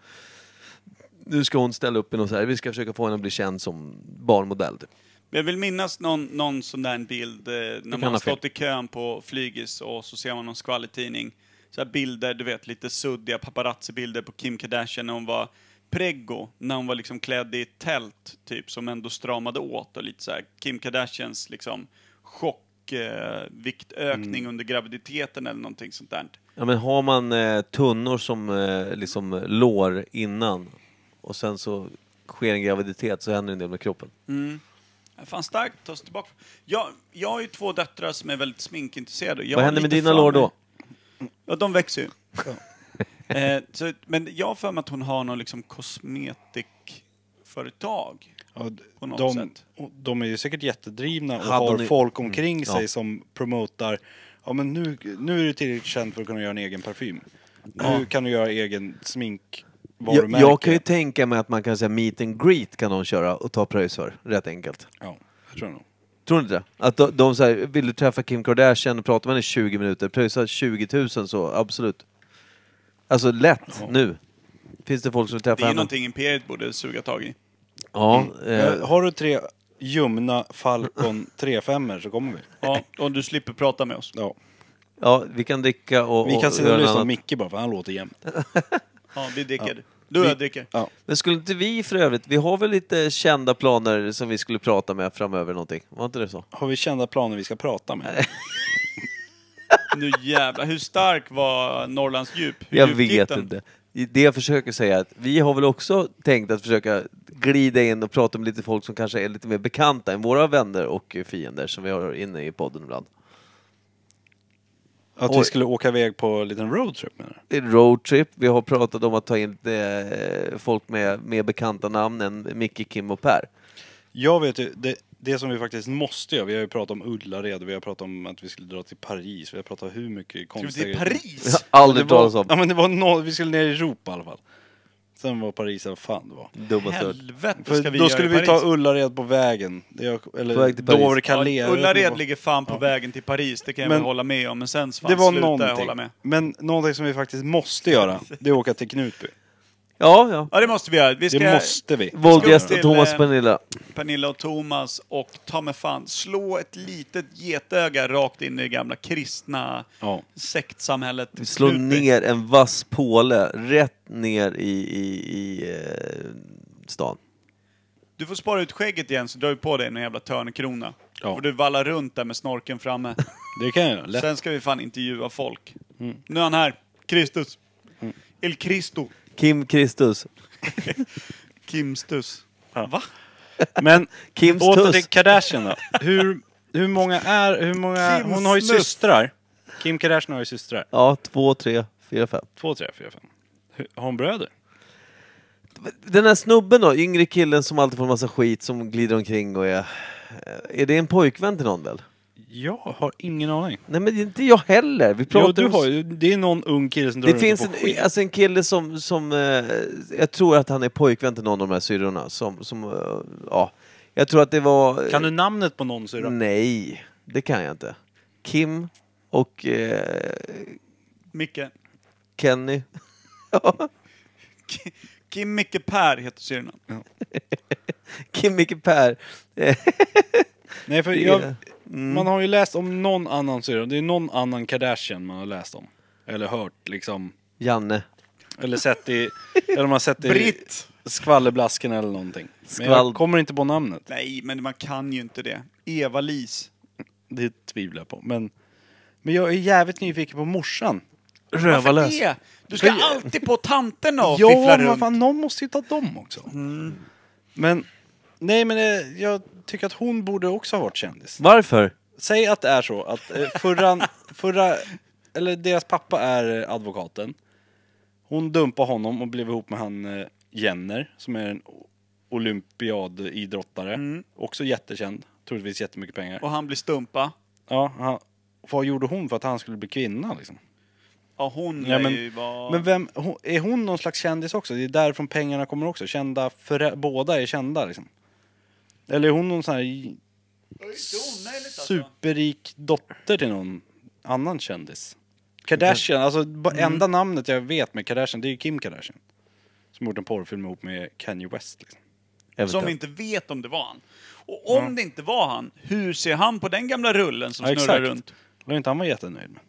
Speaker 3: Nu ska hon ställa upp i något så här. vi ska försöka få henne att bli känd som barnmodell. typ.
Speaker 2: Jag vill minnas någon, någon sån där bild eh, när man
Speaker 3: ha
Speaker 2: har
Speaker 3: fel.
Speaker 2: stått i kön på flygis och så ser man någon skvallertidning. Så här bilder, du vet lite suddiga paparazzi-bilder på Kim Kardashian när hon var preggo, när hon var liksom klädd i ett tält typ som ändå stramade åt och lite så här Kim Kardashians liksom chock, eh, viktökning
Speaker 3: Mm.
Speaker 2: under graviditeten eller någonting sånt där.
Speaker 3: Ja men har man eh, tunnor som eh, liksom lår innan och sen så sker en graviditet så händer en del med kroppen.
Speaker 2: Fan starkt, tas tillbaka. Jag, jag har ju två döttrar som är väldigt sminkintresserade. Jag
Speaker 3: Vad
Speaker 2: har
Speaker 3: händer med
Speaker 2: lite
Speaker 3: dina
Speaker 2: för
Speaker 3: lår
Speaker 2: mig-
Speaker 3: då?
Speaker 2: Ja, de växer ju. eh, så, men jag har för mig att hon har någon liksom kosmetikföretag.
Speaker 4: Ja, d-
Speaker 2: På något
Speaker 4: de,
Speaker 2: sätt.
Speaker 4: och de är ju säkert jättedrivna och
Speaker 3: Hade
Speaker 4: har
Speaker 3: ni- mm,
Speaker 4: folk omkring sig
Speaker 3: ja.
Speaker 4: som promotar Ja men nu, nu är du tillräckligt känd för att kunna göra en egen parfym. Nu kan du göra egen smink,
Speaker 3: Jag,
Speaker 4: varumärke.
Speaker 3: jag kan ju tänka mig att man kan säga meet and greet kan någon köra och ta pröjs för, rätt enkelt.
Speaker 4: Ja, jag tror nog.
Speaker 3: Tror du inte det? Att de, de säger, vill du träffa Kim Kardashian och prata med henne i 20 minuter, pröjsa 20 000 så absolut. Alltså lätt, nu. Finns det folk som vill
Speaker 2: Det
Speaker 3: träffa
Speaker 2: är ju
Speaker 3: henne?
Speaker 2: någonting Imperiet borde suga tag i.
Speaker 3: Ja,
Speaker 4: Eh,
Speaker 3: eh,
Speaker 4: Har du tre ljumna Falcon
Speaker 3: *laughs*
Speaker 4: 35 så kommer vi.
Speaker 2: *laughs* Ja, och du slipper prata med oss.
Speaker 4: Ja.
Speaker 3: ja, vi kan dricka och,
Speaker 4: Vi kan
Speaker 3: och
Speaker 4: sitta
Speaker 3: göra
Speaker 4: och
Speaker 3: något
Speaker 4: lyssna på
Speaker 3: annat.
Speaker 4: Micke bara för han låter jämt.
Speaker 2: Ja, vi dricker. Du och jag dricker.
Speaker 4: Ja.
Speaker 3: Men skulle inte vi för övrigt, vi har väl lite kända planer som vi skulle prata med framöver någonting? Var inte det så?
Speaker 4: Har vi kända planer vi ska prata med?
Speaker 2: Nu jävlar, hur stark var Norrlands djup? Hur
Speaker 3: Jag
Speaker 2: djupt
Speaker 3: vet
Speaker 2: gick den?
Speaker 3: inte. Det jag försöker säga är att vi har väl också tänkt att försöka glida in och prata med lite folk som kanske är lite mer bekanta än våra vänner och fiender som vi har inne i podden ibland.
Speaker 4: Att
Speaker 3: Oj.
Speaker 4: vi skulle åka iväg på en liten roadtrip menar du?
Speaker 3: Det är roadtrip, vi har pratat om att ta in eh, folk med mer bekanta namn än Micke, Kim och Per.
Speaker 4: Jag vet ju, det, det som vi faktiskt måste göra, vi har ju pratat om Ullared, vi har pratat om att vi skulle dra till Paris, vi har pratat hur mycket
Speaker 2: Ska vi
Speaker 4: konstiga
Speaker 2: till
Speaker 4: grejer.
Speaker 3: Jag har
Speaker 2: Paris?
Speaker 3: aldrig
Speaker 4: Det
Speaker 3: talat
Speaker 4: var,
Speaker 3: om.
Speaker 4: ja men det var nå vi skulle ner i Europa i alla fall. Sen var Paris, vad fan det var.
Speaker 3: Dumma stört.
Speaker 2: Helvete
Speaker 4: För
Speaker 2: ska vi
Speaker 4: då
Speaker 2: göra
Speaker 4: skulle
Speaker 2: i
Speaker 4: vi ta
Speaker 2: Paris.
Speaker 4: Ullared på vägen. Det jag- Eller
Speaker 3: På väg till Paris.
Speaker 4: Dover Calais.
Speaker 2: Ja,
Speaker 4: jag vet inte
Speaker 2: Ullared
Speaker 4: vad.
Speaker 2: ligger fan på vägen till Paris, det kan jag
Speaker 4: Men-
Speaker 2: väl hålla med om. Men sen så fan
Speaker 4: Det var
Speaker 2: slutar jag
Speaker 4: någonting.
Speaker 2: hålla med.
Speaker 4: Men någonting som vi faktiskt måste göra, det är att åka till Knutby.
Speaker 3: Ja, ja.
Speaker 2: Ja, det måste vi göra. *laughs* Vi ska
Speaker 4: Det måste vi.
Speaker 3: Våldgäst
Speaker 2: till,
Speaker 3: och Thomas
Speaker 2: eh,
Speaker 3: Pernilla.
Speaker 2: Pernilla och Thomas och ta mig fan, slå ett litet getöga rakt in i det gamla kristna
Speaker 4: Ja.
Speaker 2: sektsamhället.
Speaker 3: Vi slår
Speaker 2: Knutby.
Speaker 3: ner en vass påle rätt ner i, i, i eh, stan.
Speaker 2: Du får spara ut skägget igen så drar vi på dig en jävla törnekrona.
Speaker 4: Ja.
Speaker 2: Och du vallar runt där med snorken framme.
Speaker 4: Det kan jag göra. *laughs* Lätt. Mm.
Speaker 2: Sen ska vi fan intervjua folk. Nu är han här. Kristus. El Cristo.
Speaker 3: Kim Kristus.
Speaker 2: Kimstus. Va?
Speaker 4: Men
Speaker 3: Kims
Speaker 4: åter
Speaker 3: tuss.
Speaker 4: till Kardashian då. Hur, hur många är... Hur många,
Speaker 2: Kim
Speaker 4: hon har ju
Speaker 2: Snuff.
Speaker 4: systrar. Kim Kardashian har ju systrar.
Speaker 3: Ja, två, tre, fyra, fem.
Speaker 4: Två, tre, fyra, fem. Hur- Har hon bröder?
Speaker 3: Den här snubben då, yngre killen som alltid får en massa skit som glider omkring och är... eh, Är det en pojkvän till någon väl?
Speaker 4: Jag har ingen aning.
Speaker 3: Nej men det är inte jag heller. Vi pratar
Speaker 4: Jo, du
Speaker 3: om-
Speaker 4: har ju, det är någon ung kille som drar
Speaker 3: Det
Speaker 4: runt
Speaker 3: finns
Speaker 4: och
Speaker 3: en,
Speaker 4: får skit.
Speaker 3: alltså en kille som, som eh, jag tror att han är pojkvän till någon av de här syrrorna som, som eh, ja. Jag tror att det var...
Speaker 4: Kan du namnet på någon syrra?
Speaker 3: Nej, det kan jag inte. Kim och eh,
Speaker 2: Micke.
Speaker 3: Kenny. *laughs*
Speaker 2: Ki- Kim Micke Per heter syrran.
Speaker 3: Kim, Micke, Per. Eh,
Speaker 4: Nej, för jag, Mm.
Speaker 3: Det-
Speaker 4: man har ju läst om någon annan syrra. Det är någon annan Kardashian man har läst om. Eller hört liksom.
Speaker 3: Janne.
Speaker 4: Eller sett *laughs* i... eller man har sett i...
Speaker 2: Britt.
Speaker 4: Skvallerblasken eller någonting. Men
Speaker 3: Skvall-
Speaker 4: jag kommer inte på namnet.
Speaker 2: Nej, men man kan ju inte det. Eva-Lis.
Speaker 4: Det tvivlar jag på. Men, men jag är jävligt nyfiken på morsan.
Speaker 2: Varför det? Du ska
Speaker 4: För-
Speaker 2: alltid på tanterna
Speaker 4: *laughs*
Speaker 2: och
Speaker 4: Ja,
Speaker 2: fiffla
Speaker 4: men vad
Speaker 2: runt. Mm.
Speaker 4: fan, någon måste ju ta dem också. Men, nej men eh, jag tycker att hon borde också ha varit kändis.
Speaker 3: Varför?
Speaker 4: Säg att det är så att eh, förra, förra, eller deras pappa är eh, advokaten. Hon dumpar honom och blev ihop med han eh, Jenner som är en o- olympiadidrottare. Också jättekänd, troligtvis jättemycket pengar.
Speaker 2: Mm. Och han blir stumpa.
Speaker 4: Ja, han, vad gjorde hon för att han skulle bli kvinna liksom?
Speaker 2: Ja, hon
Speaker 4: Ja, men-
Speaker 2: är ju vad...
Speaker 4: Men vem, hon, är hon någon slags kändis också? Det är därifrån pengarna kommer också. Kända, förä, båda är kända liksom. Eller är hon någon sån här i-
Speaker 2: alltså-
Speaker 4: superrik dotter till någon annan kändis? Kardashian, alltså ba-
Speaker 2: Mm.
Speaker 4: enda namnet jag vet med Kardashian, det är ju Kim Kardashian. Som gjort en porrfilm ihop med Kanye West liksom.
Speaker 2: Som
Speaker 3: Eventuellt.
Speaker 2: vi inte vet om det var han. Och om det inte var han, hur ser han på den gamla rullen som snurrar runt?
Speaker 4: Det var inte han var jättenöjd med.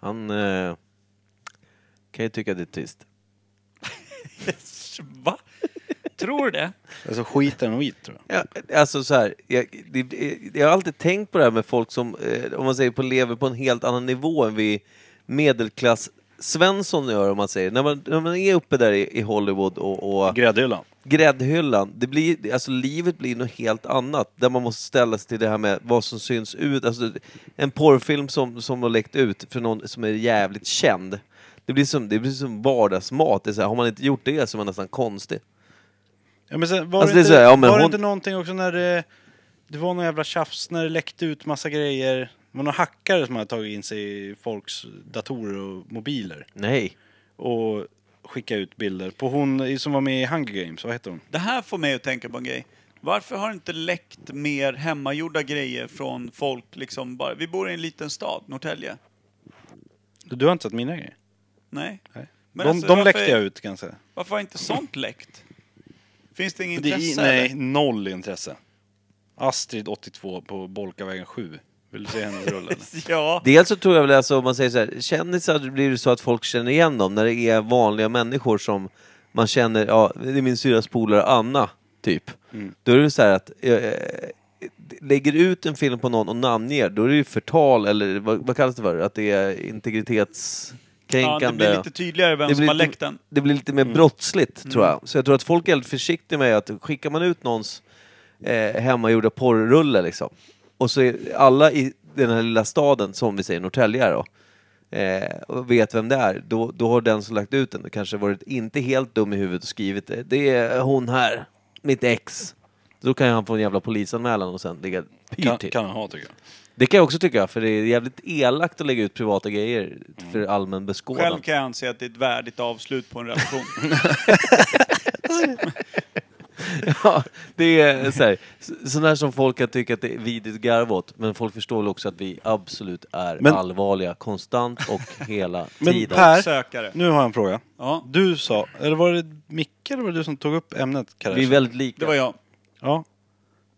Speaker 3: Han eh, kan ju tycka det är trist.
Speaker 2: Va? Tror du det?
Speaker 4: Alltså skiten och skit tror jag.
Speaker 3: Ja, alltså så här, jag, det, det- jag har alltid tänkt på det här med folk som, eh, om man säger på lever på en helt annan nivå än vi medelklass Svensson gör om man säger. När man, när man är uppe där i, i Hollywood och, och
Speaker 4: Gräddhyllan.
Speaker 3: gräddhyllan, det blir, alltså livet blir något helt annat. Där man måste ställa sig till det här med vad som syns ut. Alltså, en porrfilm som, som har läckt ut för någon som är jävligt känd. Det blir som, det blir som vardagsmat. Det är så här, har man inte gjort det så är man nästan konstig.
Speaker 4: Ja, men sen, var
Speaker 3: Alltså,
Speaker 4: det,
Speaker 3: det är
Speaker 4: inte,
Speaker 3: så här, ja, men
Speaker 4: var det
Speaker 3: hon-
Speaker 4: inte någonting också när det, det var någon jävla tjafs när det läckte ut massa grejer? Det var några hackare som hade tagit in sig i folks datorer och mobiler
Speaker 3: Nej.
Speaker 4: och skickat ut bilder på hon i- som var med i Hunger Games, vad heter hon?
Speaker 2: Det här får mig att tänka på en grej. Varför har det inte läckt mer hemmagjorda grejer från folk liksom bara... Vi bor i en liten stad, Norrtälje.
Speaker 4: Du har inte sett mina grejer?
Speaker 2: Nej?
Speaker 4: Nej.
Speaker 2: Men
Speaker 4: de
Speaker 2: alltså,
Speaker 4: de
Speaker 2: varför-
Speaker 4: läckte jag ut ganska.
Speaker 2: Varför har inte sånt läckt? Finns det inget
Speaker 4: Det är,
Speaker 2: intresse?
Speaker 4: nej,
Speaker 2: eller?
Speaker 4: noll intresse. Astrid 82 på Bolkavägen 7. Vill du se hennes rull
Speaker 3: *laughs*
Speaker 4: eller?
Speaker 2: *laughs* Ja.
Speaker 3: Dels så tror jag väl alltså, om man säger så här, kändisar blir det så att folk känner igen dem när det är vanliga människor som man känner, ja, det är min syrras polare Anna, typ. Då är det så här att, eh, lägger ut en film på någon och namnger, då är det ju förtal eller vad, vad kallas det för? Att det är
Speaker 2: ja,
Speaker 3: integritetskränkande.
Speaker 2: det blir lite tydligare vem
Speaker 3: Det
Speaker 2: som
Speaker 3: blir
Speaker 2: har
Speaker 3: lite-
Speaker 2: läckt den.
Speaker 3: det blir lite mer brottsligt tror jag. Så jag tror att folk är lite försiktiga med att skickar man ut någons eh, hemmagjorda porrrulle liksom. Och så är alla i den här lilla staden, som vi säger Norrtälje är då, eh, och vet vem det är, då, då har den som lagt ut den kanske varit inte helt dum i huvudet och skrivit det. Det är hon här, mitt ex. Då kan han få en jävla polisanmälan och sen ligga pyrt
Speaker 4: Kan,
Speaker 3: till.
Speaker 4: kan han ha tycker jag.
Speaker 3: Det kan jag också tycka, för det är jävligt elakt att lägga ut privata grejer för allmän beskådan.
Speaker 2: Mm. Själv kan jag anse att det är ett värdigt avslut på
Speaker 3: *laughs*
Speaker 2: en relation.
Speaker 3: Ja, det är så här, så- sån här som folk kan tycka att det är vidrigt garv åt, men folk förstår väl också att vi absolut är
Speaker 4: Men-
Speaker 3: allvarliga konstant och *laughs* hela
Speaker 4: Men
Speaker 3: tiden.
Speaker 4: Per,
Speaker 2: Sökare.
Speaker 4: nu har jag en fråga.
Speaker 2: Ja,
Speaker 4: Du sa, eller var det Micke eller var det du som tog upp ämnet Karash?
Speaker 3: Vi är väldigt lika.
Speaker 2: det var jag.
Speaker 4: Ja.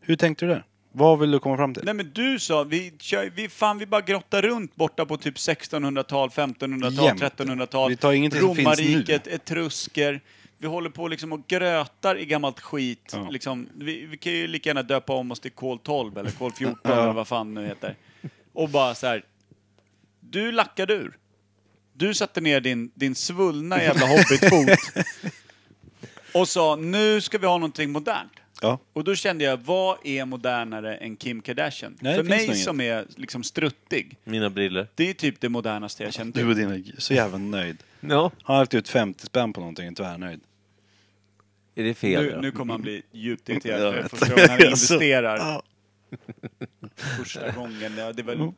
Speaker 4: Hur tänkte du där? Vad vill du komma fram till?
Speaker 2: Nej men du sa, vi, kör, vi, fan, vi bara grottar runt borta på typ 1600-tal, 1500-tal,
Speaker 4: Jämt.
Speaker 2: 1300-tal.
Speaker 4: Vi tar ingenting som finns
Speaker 2: Romarriket, etrusker. Vi håller på liksom och grötar i gammalt skit. Liksom, vi, vi kan ju lika gärna döpa om oss till kol 12 eller kol 14 eller vad fan nu heter. Och bara så här. Du lackade ur. Du satte ner din, din
Speaker 4: *laughs*
Speaker 2: svullna jävla hobbitfot och sa nu ska vi ha någonting modernt.
Speaker 4: Ja.
Speaker 2: Och då kände jag, vad är modernare än Kim Kardashian?
Speaker 4: Nej, det
Speaker 2: För
Speaker 4: finns
Speaker 2: mig
Speaker 4: nog inget.
Speaker 2: som är liksom struttig,
Speaker 3: Mina briller.
Speaker 2: det är typ det modernaste jag
Speaker 4: Du
Speaker 2: känner till.
Speaker 4: och din är så jävla nöjd.
Speaker 3: Ja.
Speaker 4: Han har lagt ut 50 spänn på någonting, tvärnöjd.
Speaker 3: Är det fel?
Speaker 2: Nu,
Speaker 3: då?
Speaker 2: nu kommer han bli djupt
Speaker 4: Mm. Jag
Speaker 2: irriterad för
Speaker 4: vet.
Speaker 2: första gången han
Speaker 4: Jag *laughs* så- Ah.
Speaker 2: investerar. Första gången, ja, det var
Speaker 4: Mm.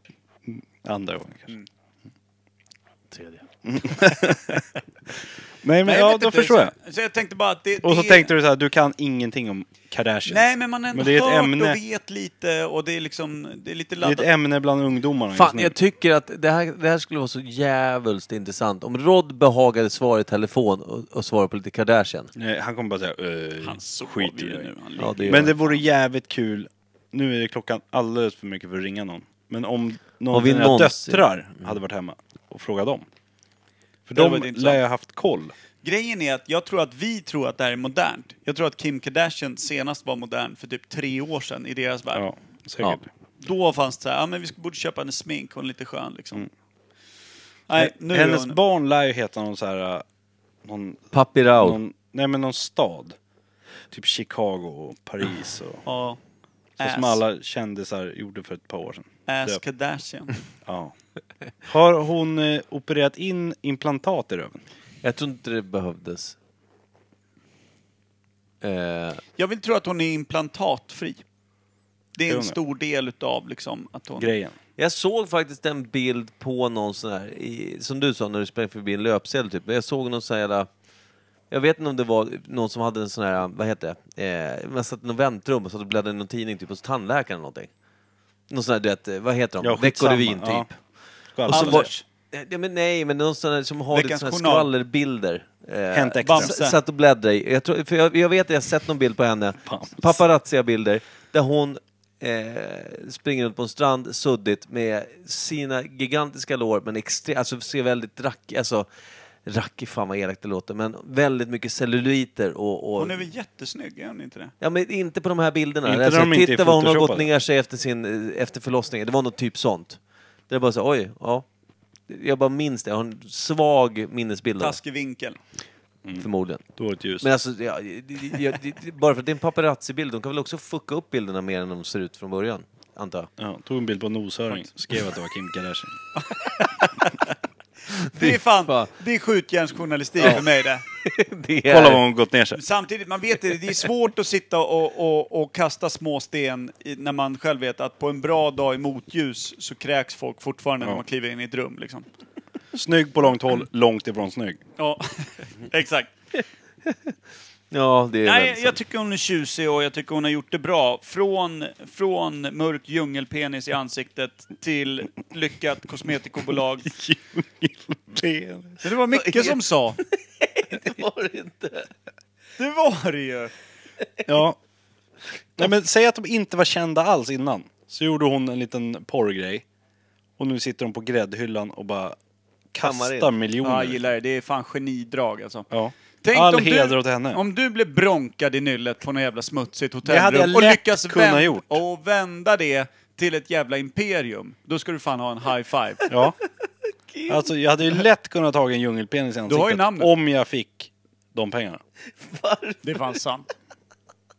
Speaker 4: Andra gången kanske.
Speaker 2: Mm.
Speaker 3: Tredje.
Speaker 4: Nej men
Speaker 2: Nej,
Speaker 4: ja,
Speaker 2: vet
Speaker 4: då
Speaker 2: inte.
Speaker 4: förstår jag.
Speaker 2: Så, så jag tänkte bara att det,
Speaker 4: Och så
Speaker 2: det
Speaker 4: tänkte du så här, du kan ingenting om Kardashians.
Speaker 2: Nej, men man har ändå
Speaker 4: Men det är ett
Speaker 2: hört
Speaker 4: ämne.
Speaker 2: och vet lite och det är liksom, det är lite
Speaker 4: Det är
Speaker 2: laddat.
Speaker 4: ett ämne bland ungdomarna just
Speaker 3: Fan,
Speaker 4: nu.
Speaker 3: jag tycker att det här, det här skulle vara så jävligt intressant. Om Rod behagade svara i telefon och, och svara på lite Kardashian.
Speaker 4: Nej, han kommer bara säga eh,
Speaker 2: han sover
Speaker 4: skit i
Speaker 2: ju
Speaker 4: det.
Speaker 2: nu. Han
Speaker 3: Ja,
Speaker 2: ligger-
Speaker 3: det gör
Speaker 4: Men det
Speaker 3: jag.
Speaker 4: vore jävligt kul. Nu är det klockan alldeles för mycket för att ringa någon. Men om någon av
Speaker 3: vi
Speaker 4: dina
Speaker 3: någonsin-
Speaker 4: döttrar hade varit hemma och frågat dem. För
Speaker 2: Det hade
Speaker 4: de
Speaker 2: varit intressant.
Speaker 4: lär jag haft koll.
Speaker 2: Grejen är att jag tror att vi tror att det här är modernt. Jag tror att Kim Kardashian senast var modern för typ tre år sedan i deras värld.
Speaker 4: Ja, säkert.
Speaker 3: Ja.
Speaker 2: Då fanns det så här, ja men vi borde köpa en smink, hon är lite skön liksom. Nej, nu är
Speaker 4: Mm. Hennes
Speaker 2: hon...
Speaker 4: barn lär ju heta någon så här... äh, Någon,
Speaker 3: Papi Rao.
Speaker 2: Mm.
Speaker 4: någon, nej men någon stad. Typ Chicago och Paris och...
Speaker 2: Ja.
Speaker 4: Så
Speaker 2: Ass,
Speaker 4: som alla kändisar gjorde för ett par år sedan.
Speaker 2: ass
Speaker 4: döpt.
Speaker 2: Kardashian.
Speaker 4: Ja. Har hon eh, opererat in implantat i röven?
Speaker 3: Jag tror inte det behövdes. Eh,
Speaker 2: Jag vill tro att hon är implantatfri. Det
Speaker 4: Det
Speaker 2: är
Speaker 4: är
Speaker 2: en
Speaker 4: hon, ja.
Speaker 2: stor del utav liksom att hon...
Speaker 4: Grejen.
Speaker 3: Jag såg faktiskt en bild på någon sån här, i, som du sa när du sprang förbi en löpsedel typ. Jag såg någon sån här jävla, jag vet inte om det var någon som hade en sån här, vad heter det, eh, man satt i något väntrum och satt och bläddrade i någon tidning typ hos tandläkaren eller någonting. Någon sån här, du vet, eh, vad heter de?
Speaker 4: Ja, skitsamma.
Speaker 3: Veckorevyn typ.
Speaker 4: Ja.
Speaker 3: Och så
Speaker 2: Alltså,
Speaker 4: Skvaller.
Speaker 3: var, ja, men nej, men någon sån här, som har lite
Speaker 2: Veckans
Speaker 3: såna här
Speaker 2: Journal.
Speaker 3: skvallerbilder. Eh,
Speaker 4: Hänt Extra.
Speaker 2: Bamse.
Speaker 3: s- Satt och bläddrade i. Jag, tror, för jag, jag vet att jag har sett någon bild på henne,
Speaker 4: Bamse.
Speaker 3: paparazziga-bilder, där hon eh, springer runt på en strand suddigt med sina gigantiska lår, men extre- alltså ser väldigt rackig, alltså rackig, fan vad elakt det låter, men väldigt mycket celluliter och... och
Speaker 2: Hon är väl jättesnygg, är hon inte det?
Speaker 3: Ja men inte på de här bilderna.
Speaker 4: Inte när
Speaker 3: alltså,
Speaker 4: de inte är
Speaker 3: titta vad hon har gått
Speaker 4: photoshopade.
Speaker 3: ner sig efter, sin, eh, efter förlossningen. Det var något typ sånt. Det är bara så, oj, ja. Jag bara minns det. Jag har en svag minnesbild av
Speaker 2: Taskig vinkel.
Speaker 3: det, förmodligen.
Speaker 4: Dåligt ljus.
Speaker 3: Men alltså, ja, det- det- jag, det, bara för att det är en paparazzi-bild, de kan väl också fucka upp bilderna mer än de ser ut från början, antar jag.
Speaker 4: Ja, tog en bild på noshöring, skrev att det var Kim
Speaker 2: *laughs*
Speaker 4: Kardashian.
Speaker 2: Det är fan,
Speaker 3: fan.
Speaker 2: det är skjutjärnsjournalistik för mig det.
Speaker 3: Det är-
Speaker 4: Kolla vad hon gått ner sig.
Speaker 2: Samtidigt, man vet det, det är svårt att sitta och, och, och kasta små sten i, när man själv vet att på en bra dag i motljus så kräks folk fortfarande när
Speaker 4: Ja.
Speaker 2: man kliver in i ett rum. Liksom.
Speaker 4: Snygg på långt håll, långt ifrån snygg.
Speaker 2: Ja, *laughs* exakt.
Speaker 3: Ja, det är
Speaker 2: Nej,
Speaker 3: väldigt
Speaker 2: jag tycker hon är tjusig och jag tycker hon har gjort det bra. Från, från mörk djungelpenis i ansiktet till lyckat
Speaker 4: *laughs*
Speaker 2: kosmetikobolag. Men det var mycket som *laughs* sa.
Speaker 3: sant. Det var det inte.
Speaker 2: Det var det ju.
Speaker 4: Ja. Nej men säg att de inte var kända alls innan. Så gjorde hon en liten porrgrej. Och nu sitter de på gräddhyllan och bara kastar
Speaker 3: Kammar
Speaker 4: miljoner.
Speaker 2: Ja, jag gillar det. Det är fan genidrag alltså.
Speaker 4: Ja.
Speaker 2: Tänk
Speaker 4: All
Speaker 2: om
Speaker 4: heder
Speaker 2: du,
Speaker 4: åt henne.
Speaker 2: Om du blev bronkad i nyllet på något jävla smutsigt
Speaker 4: Det hade jag
Speaker 2: hotellrum och
Speaker 4: lätt
Speaker 2: lyckas
Speaker 4: kunnat
Speaker 2: vänd-
Speaker 4: gjort.
Speaker 2: och vända det till ett jävla imperium, då ska du fan ha en high five.
Speaker 4: Ja. Alltså jag hade ju lätt kunnat ta en djungelpenis i
Speaker 2: Du har ju
Speaker 4: ansiktet
Speaker 2: namnet.
Speaker 4: om jag fick de pengarna.
Speaker 2: Det är fan sant.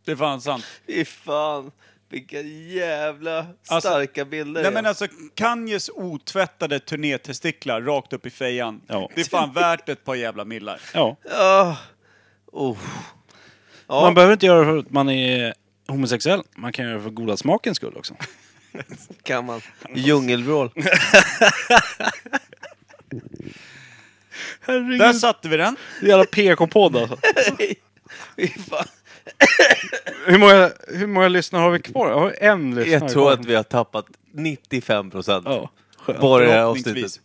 Speaker 2: Det är fan sant.
Speaker 3: Fy fan, vilka jävla
Speaker 2: Alltså,
Speaker 3: starka bilder.
Speaker 2: Nej men alltså, Kanyes otvättade turnétestiklar rakt upp i fejan.
Speaker 4: Ja.
Speaker 2: Det är fan värt ett par jävla millar.
Speaker 4: Ja.
Speaker 3: Ah. oh. Ja.
Speaker 4: Man behöver inte göra det för att man är homosexuell. Man kan göra det för goda smakens skull också.
Speaker 3: Kan man. Djungelvrål.
Speaker 2: Där satte vi den.
Speaker 4: Jävla PK-podd alltså.
Speaker 3: Fy fan.
Speaker 4: Hur många, hur många lyssnare har vi kvar? Har vi en lyssnare
Speaker 3: Jag
Speaker 4: kvar?
Speaker 3: tror att vi har tappat 95 procent.
Speaker 4: Ja, skönt.
Speaker 3: Bara i det här
Speaker 2: Förhoppningsvis.
Speaker 3: avsnittet.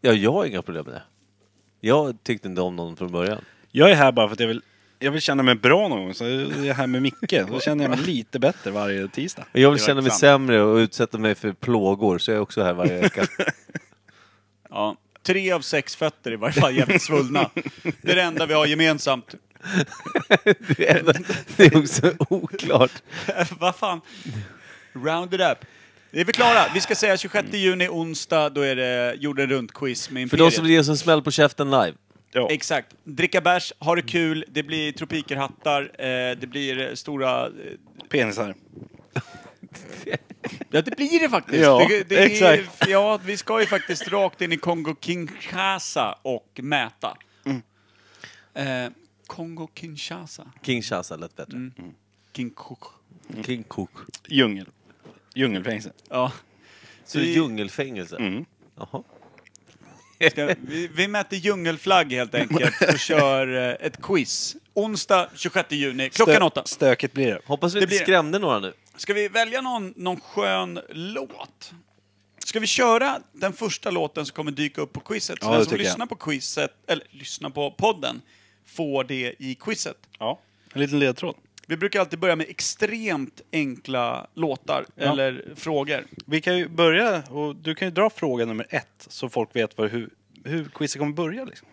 Speaker 3: Ja, jag har inga problem med det. Jag tyckte inte om någon från början.
Speaker 4: Jag är här bara för att jag vill, jag vill känna mig bra någon gång. Så jag är här med Micke. Då känner jag mig lite bättre varje tisdag.
Speaker 3: Och Jag vill
Speaker 2: Det var
Speaker 3: känna mig
Speaker 2: sant.
Speaker 3: sämre och utsätta mig för plågor, så jag är också här *laughs* varje vecka.
Speaker 2: Ja. Tre av sex fötter i varje fall jävligt svullna. Det är det enda vi har gemensamt.
Speaker 3: det är ändå- det är också oklart.
Speaker 2: Äh, Vad fan? Round it up. Det är vi klara. Vi ska säga 26 juni, onsdag, då är det jorden runt-quiz med
Speaker 3: För
Speaker 2: Imperiet.
Speaker 3: de som ger oss en smäll på käften live.
Speaker 2: Exakt. Dricka bärs, ha det kul, det blir tropikerhattar, eh, det blir eh, stora... eh,
Speaker 4: Penisar.
Speaker 2: Ja, det blir det faktiskt.
Speaker 4: Ja,
Speaker 2: det, det är-
Speaker 4: exakt.
Speaker 2: Ja, vi ska ju faktiskt rakt in i Kongo-Kinshasa och mäta.
Speaker 4: Mm.
Speaker 2: Eh, Kongo-Kinshasa?
Speaker 3: Kinshasa lät bättre.
Speaker 2: Mm.
Speaker 3: Mm.
Speaker 2: Kinkoko.
Speaker 3: King Cook.
Speaker 4: Djungel. Djungelfängelse.
Speaker 2: Ja.
Speaker 3: Så
Speaker 2: Vi- Mm.
Speaker 3: djungelfängelse? Jaha.
Speaker 2: Ska, vi, vi mäter djungelflagg helt enkelt och kör eh, ett quiz. Onsdag 26 juni, klockan
Speaker 4: Stö-
Speaker 2: åtta.
Speaker 4: Stökigt blir det.
Speaker 3: Hoppas vi
Speaker 2: Det
Speaker 3: inte
Speaker 2: blir-
Speaker 3: skrämde några nu.
Speaker 2: Ska vi välja någon, någon skön låt? Ska vi köra den första låten som kommer dyka upp på quizet? Så
Speaker 4: Ja,
Speaker 2: den
Speaker 4: det
Speaker 2: som
Speaker 4: tycker jag.
Speaker 2: lyssnar på quizet, eller lyssnar på podden, får det i quizet.
Speaker 4: Ja. En liten ledtråd.
Speaker 2: Vi brukar alltid börja med extremt enkla låtar eller frågor.
Speaker 4: Vi kan ju börja, och du kan ju dra fråga nummer ett så folk vet var, hur, hur quizet kommer börja. Liksom.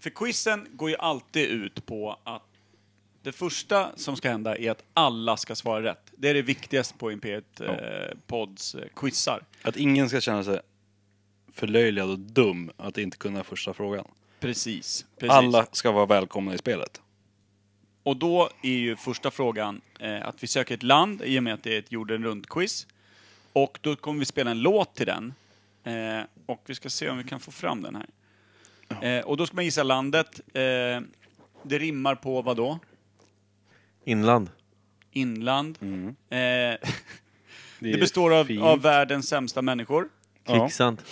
Speaker 2: För quizen går ju alltid ut på att det första som ska hända är att alla ska svara rätt. Det är det viktigaste på Imperiet eh, Pods eh, quizar.
Speaker 4: Att ingen ska känna sig förlöjligad och dum att inte kunna första frågan.
Speaker 2: Precis.
Speaker 4: Alla ska vara välkomna i spelet.
Speaker 2: Och då är ju första frågan eh, att vi söker ett land i och med att det är ett jorden runt-quiz. Och då kommer vi spela en låt till den. Eh, och vi ska se om vi kan få fram den här. Eh, och då ska man gissa landet. Eh, det rimmar på vad då?
Speaker 3: Inland.
Speaker 2: Inland.
Speaker 4: Mm.
Speaker 2: Eh, det består av, av världens sämsta människor.
Speaker 4: Ja.
Speaker 3: Kvicksand.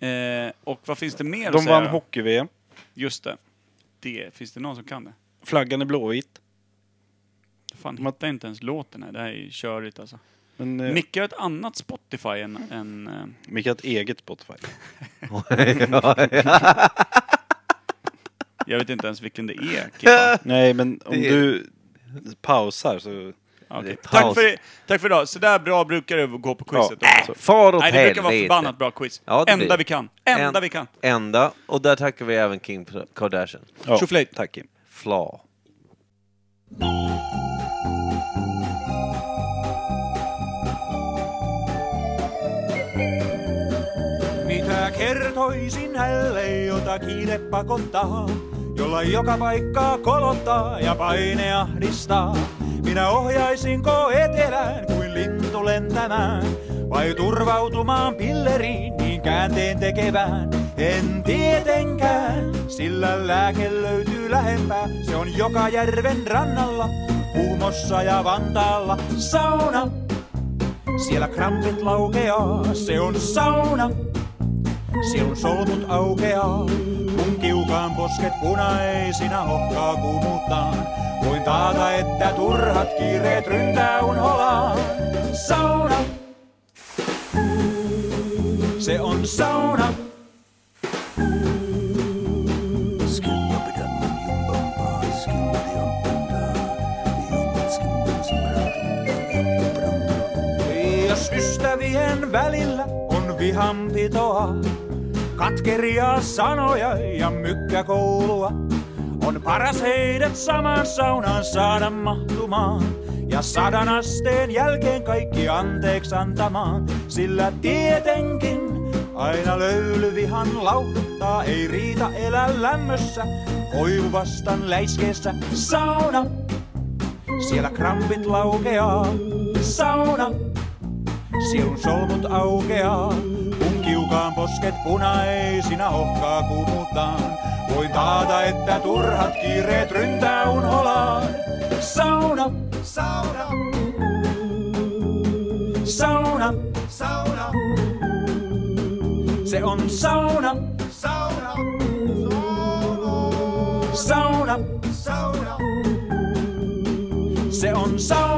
Speaker 2: Eh, och vad finns det mer att
Speaker 4: De
Speaker 2: säga?
Speaker 4: vann hockey-VM.
Speaker 2: Just det. det. Finns det någon som kan det?
Speaker 4: Flaggan är blåvit.
Speaker 2: Fan, hittar inte ens låten här. Det här är ju körigt alltså.
Speaker 4: Men eh,
Speaker 2: Micke har ett annat Spotify än... än eh,
Speaker 4: Micke har ett eget Spotify.
Speaker 2: jag vet inte ens vilken det är.
Speaker 3: *laughs*
Speaker 2: Kippa.
Speaker 4: Nej, men om
Speaker 3: Det är-
Speaker 4: du pausar så...
Speaker 2: Okej.
Speaker 3: paus.
Speaker 2: Tack, för, tack för idag. Så där bra brukar det gå på quizet. också.
Speaker 3: Far åt
Speaker 2: Nej, det brukar vara
Speaker 3: helvete.
Speaker 2: förbannat bra quiz.
Speaker 3: Ja, det
Speaker 2: Enda
Speaker 3: blir.
Speaker 2: vi kan. Enda
Speaker 3: En-
Speaker 2: vi kan.
Speaker 3: Enda. Och där tackar vi även Kim Kardashian.
Speaker 4: Ja,
Speaker 2: Tjoflöjt.
Speaker 4: Tack Kim.
Speaker 3: Fla.
Speaker 8: Mitä kertoisin hälle jotakin epäkohtaa, jolla joka paikkaa kolottaa ja paine ahdistaa? Minä ohjaisinko etelään kuin lintu lentämään, vai turvautumaan pilleriin niin käänteen tekevään? En tietenkään, sillä lääke löytyy lähempää, se on joka järven rannalla, Kuhmossa ja Vantaalla, sauna. Siellä krampit laukeaa, se on sauna. Sielun solmut aukeaa, kun kiukaan posket punaisina hokkaa kumuttaan. Voin taata, että turhat kiireet ryntää unholaan. Sauna! Se on sauna! Jos ystävien välillä on vihanpitoa, katkeria sanoja ja mykkäkoulua. On paras heidät samaan saunaan saada mahtumaan. Ja sadan asteen jälkeen kaikki anteeksi antamaan. Sillä tietenkin aina löylyvihan laukuttaa. Ei riita elää lämmössä, koivuvastan läiskeessä. Sauna, siellä krampit laukeaa. Sauna, Sielun solmut aukeaa, kun kiukaan posket punaisina ohkaa kumutaan. Voin taata, että turhat kiireet ryntää unholaan. Sauna, sauna,
Speaker 2: sauna. Sauna. Se on sauna. Sauna. Sauna. Sauna. Se on sauna.